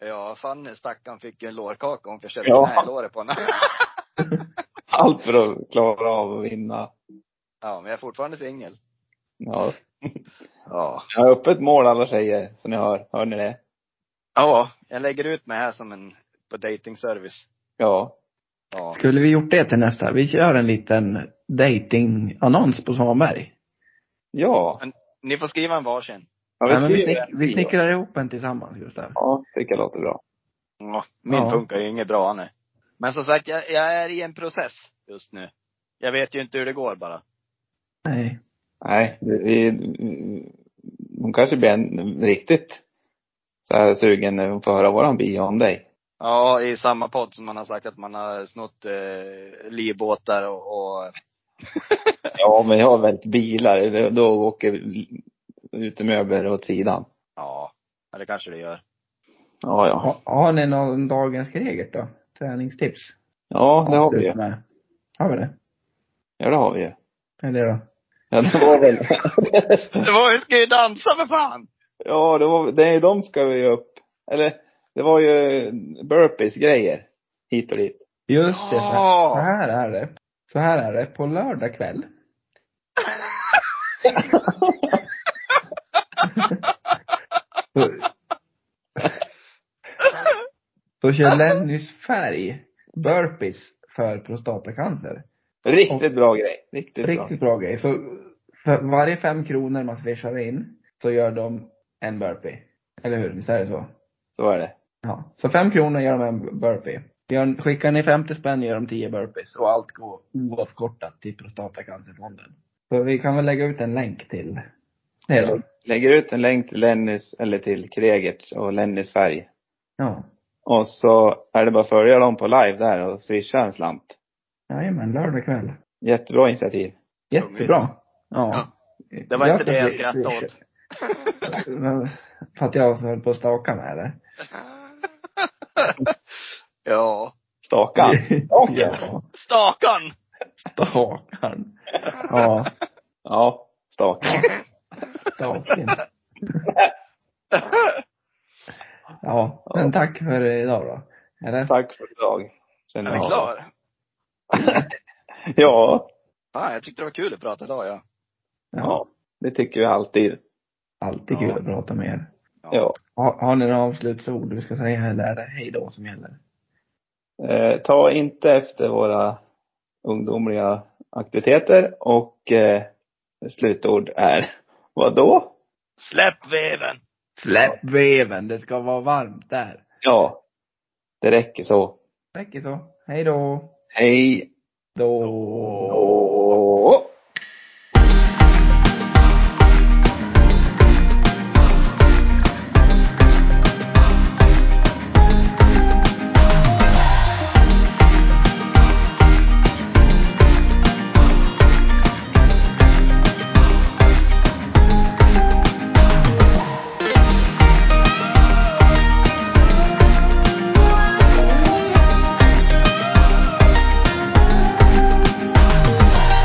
Speaker 3: ja, Fanny stackaren fick ju en lårkaka. Hon försökte
Speaker 2: Ja.
Speaker 3: knä låret på henne.
Speaker 2: Allt för att klara av att vinna.
Speaker 3: Ja, men jag är fortfarande singel.
Speaker 2: Ja.
Speaker 3: Ja.
Speaker 2: Jag har öppet mål alla tjejer, så ni hör. Hör ni det?
Speaker 3: Ja, jag lägger ut mig här som en, på dating service.
Speaker 2: Ja.
Speaker 3: Ja.
Speaker 1: Skulle vi gjort det till nästa? Vi kör en liten datingannons på Svanberg.
Speaker 2: Ja.
Speaker 3: Ni får skriva en varsin.
Speaker 2: ja
Speaker 1: Nej, men vi,
Speaker 2: skriver
Speaker 1: snick,
Speaker 2: en
Speaker 1: vi
Speaker 2: trio.
Speaker 1: snickrar ihop en tillsammans, Gustav.
Speaker 2: Ja, tycker jag låter bra.
Speaker 3: Ja, min
Speaker 1: Ja.
Speaker 3: funkar ju inget bra nu. Men som sagt, jag, jag är i en process just nu. Jag vet ju inte hur det går bara.
Speaker 1: Nej.
Speaker 2: Nej, vi, vi, hon kanske blir en, riktigt så här sugen när hon får höra våran bio om dig.
Speaker 3: Ja, i samma podd som man har sagt att man har snott eh, livbåtar och, och
Speaker 2: Ja, men jag har vält bilar. Då- Då åker utemöbler åt sidan.
Speaker 3: ja, ja, det kanske det gör.
Speaker 2: Ja, ja.
Speaker 1: Ha, har ni någon dagens Gregert då? Träningstips?
Speaker 2: Ja, det har vi ju.
Speaker 1: Med. Har vi det?
Speaker 2: Ja, det har vi ju.
Speaker 1: Eller då?
Speaker 2: Ja, det var väl.
Speaker 3: Det var ju, ska ju dansa för fan!
Speaker 2: ja, det var, det är de ska vi ju upp. Eller, det var ju burpees grejer. Hit och dit.
Speaker 1: Just det, så här,
Speaker 3: Ja.
Speaker 1: så här är det. Så här är det. På lördag kväll. då, då kör Lennys färg burpees för prostatacancer.
Speaker 2: Riktigt bra grej. Riktigt, bra.
Speaker 1: Riktigt bra grej. Så för varje fem kronor man swishar in så gör de en burpee. Eller hur? Visst är det så?
Speaker 2: Så är det.
Speaker 1: Ja. Så fem kronor gör de en burpee. Gör, skickar ni 50 spänn gör de 10 burpees och allt går oavkortat till Prostatacancerfonden. Så vi kan väl lägga ut en länk till det då.
Speaker 2: Lägger ut en länk till Lennys, eller till Kregerts och Lennys färg.
Speaker 1: Ja.
Speaker 2: Och så är det bara att följa dem på live där och swisha en slant.
Speaker 1: Jajamän, lördag kväll.
Speaker 2: Jättebra initiativ.
Speaker 1: Jättebra. Ja.
Speaker 3: Det var inte det jag skrattade åt.
Speaker 1: åt. För att jag höll på att staka med det.
Speaker 3: Ja.
Speaker 2: Stakan.
Speaker 1: ja.
Speaker 3: Stakan!
Speaker 1: Stakarn. Ja,
Speaker 2: Ja, stakan.
Speaker 1: staken. Ja, men tack för idag då. Eller?
Speaker 2: Tack för idag.
Speaker 3: Är
Speaker 2: Känner
Speaker 3: vi
Speaker 2: jag.
Speaker 3: klar?
Speaker 2: Ja,
Speaker 3: Fan, jag tyckte det var kul att prata idag ja.
Speaker 2: ja. Det tycker vi alltid.
Speaker 1: Alltid kul
Speaker 3: Ja.
Speaker 1: att prata med er.
Speaker 2: Ja.
Speaker 1: Har, har ni några avslutsord vi ska säga eller är det hej då som gäller?
Speaker 2: Eh, ta inte efter våra ungdomliga aktiviteter och eh, slutord är vadå?
Speaker 3: Släpp veven!
Speaker 1: Släpp veven, det ska vara varmt där.
Speaker 2: Ja, det räcker så.
Speaker 1: Räcker så. Hej då.
Speaker 2: Hej
Speaker 1: Då.
Speaker 2: då!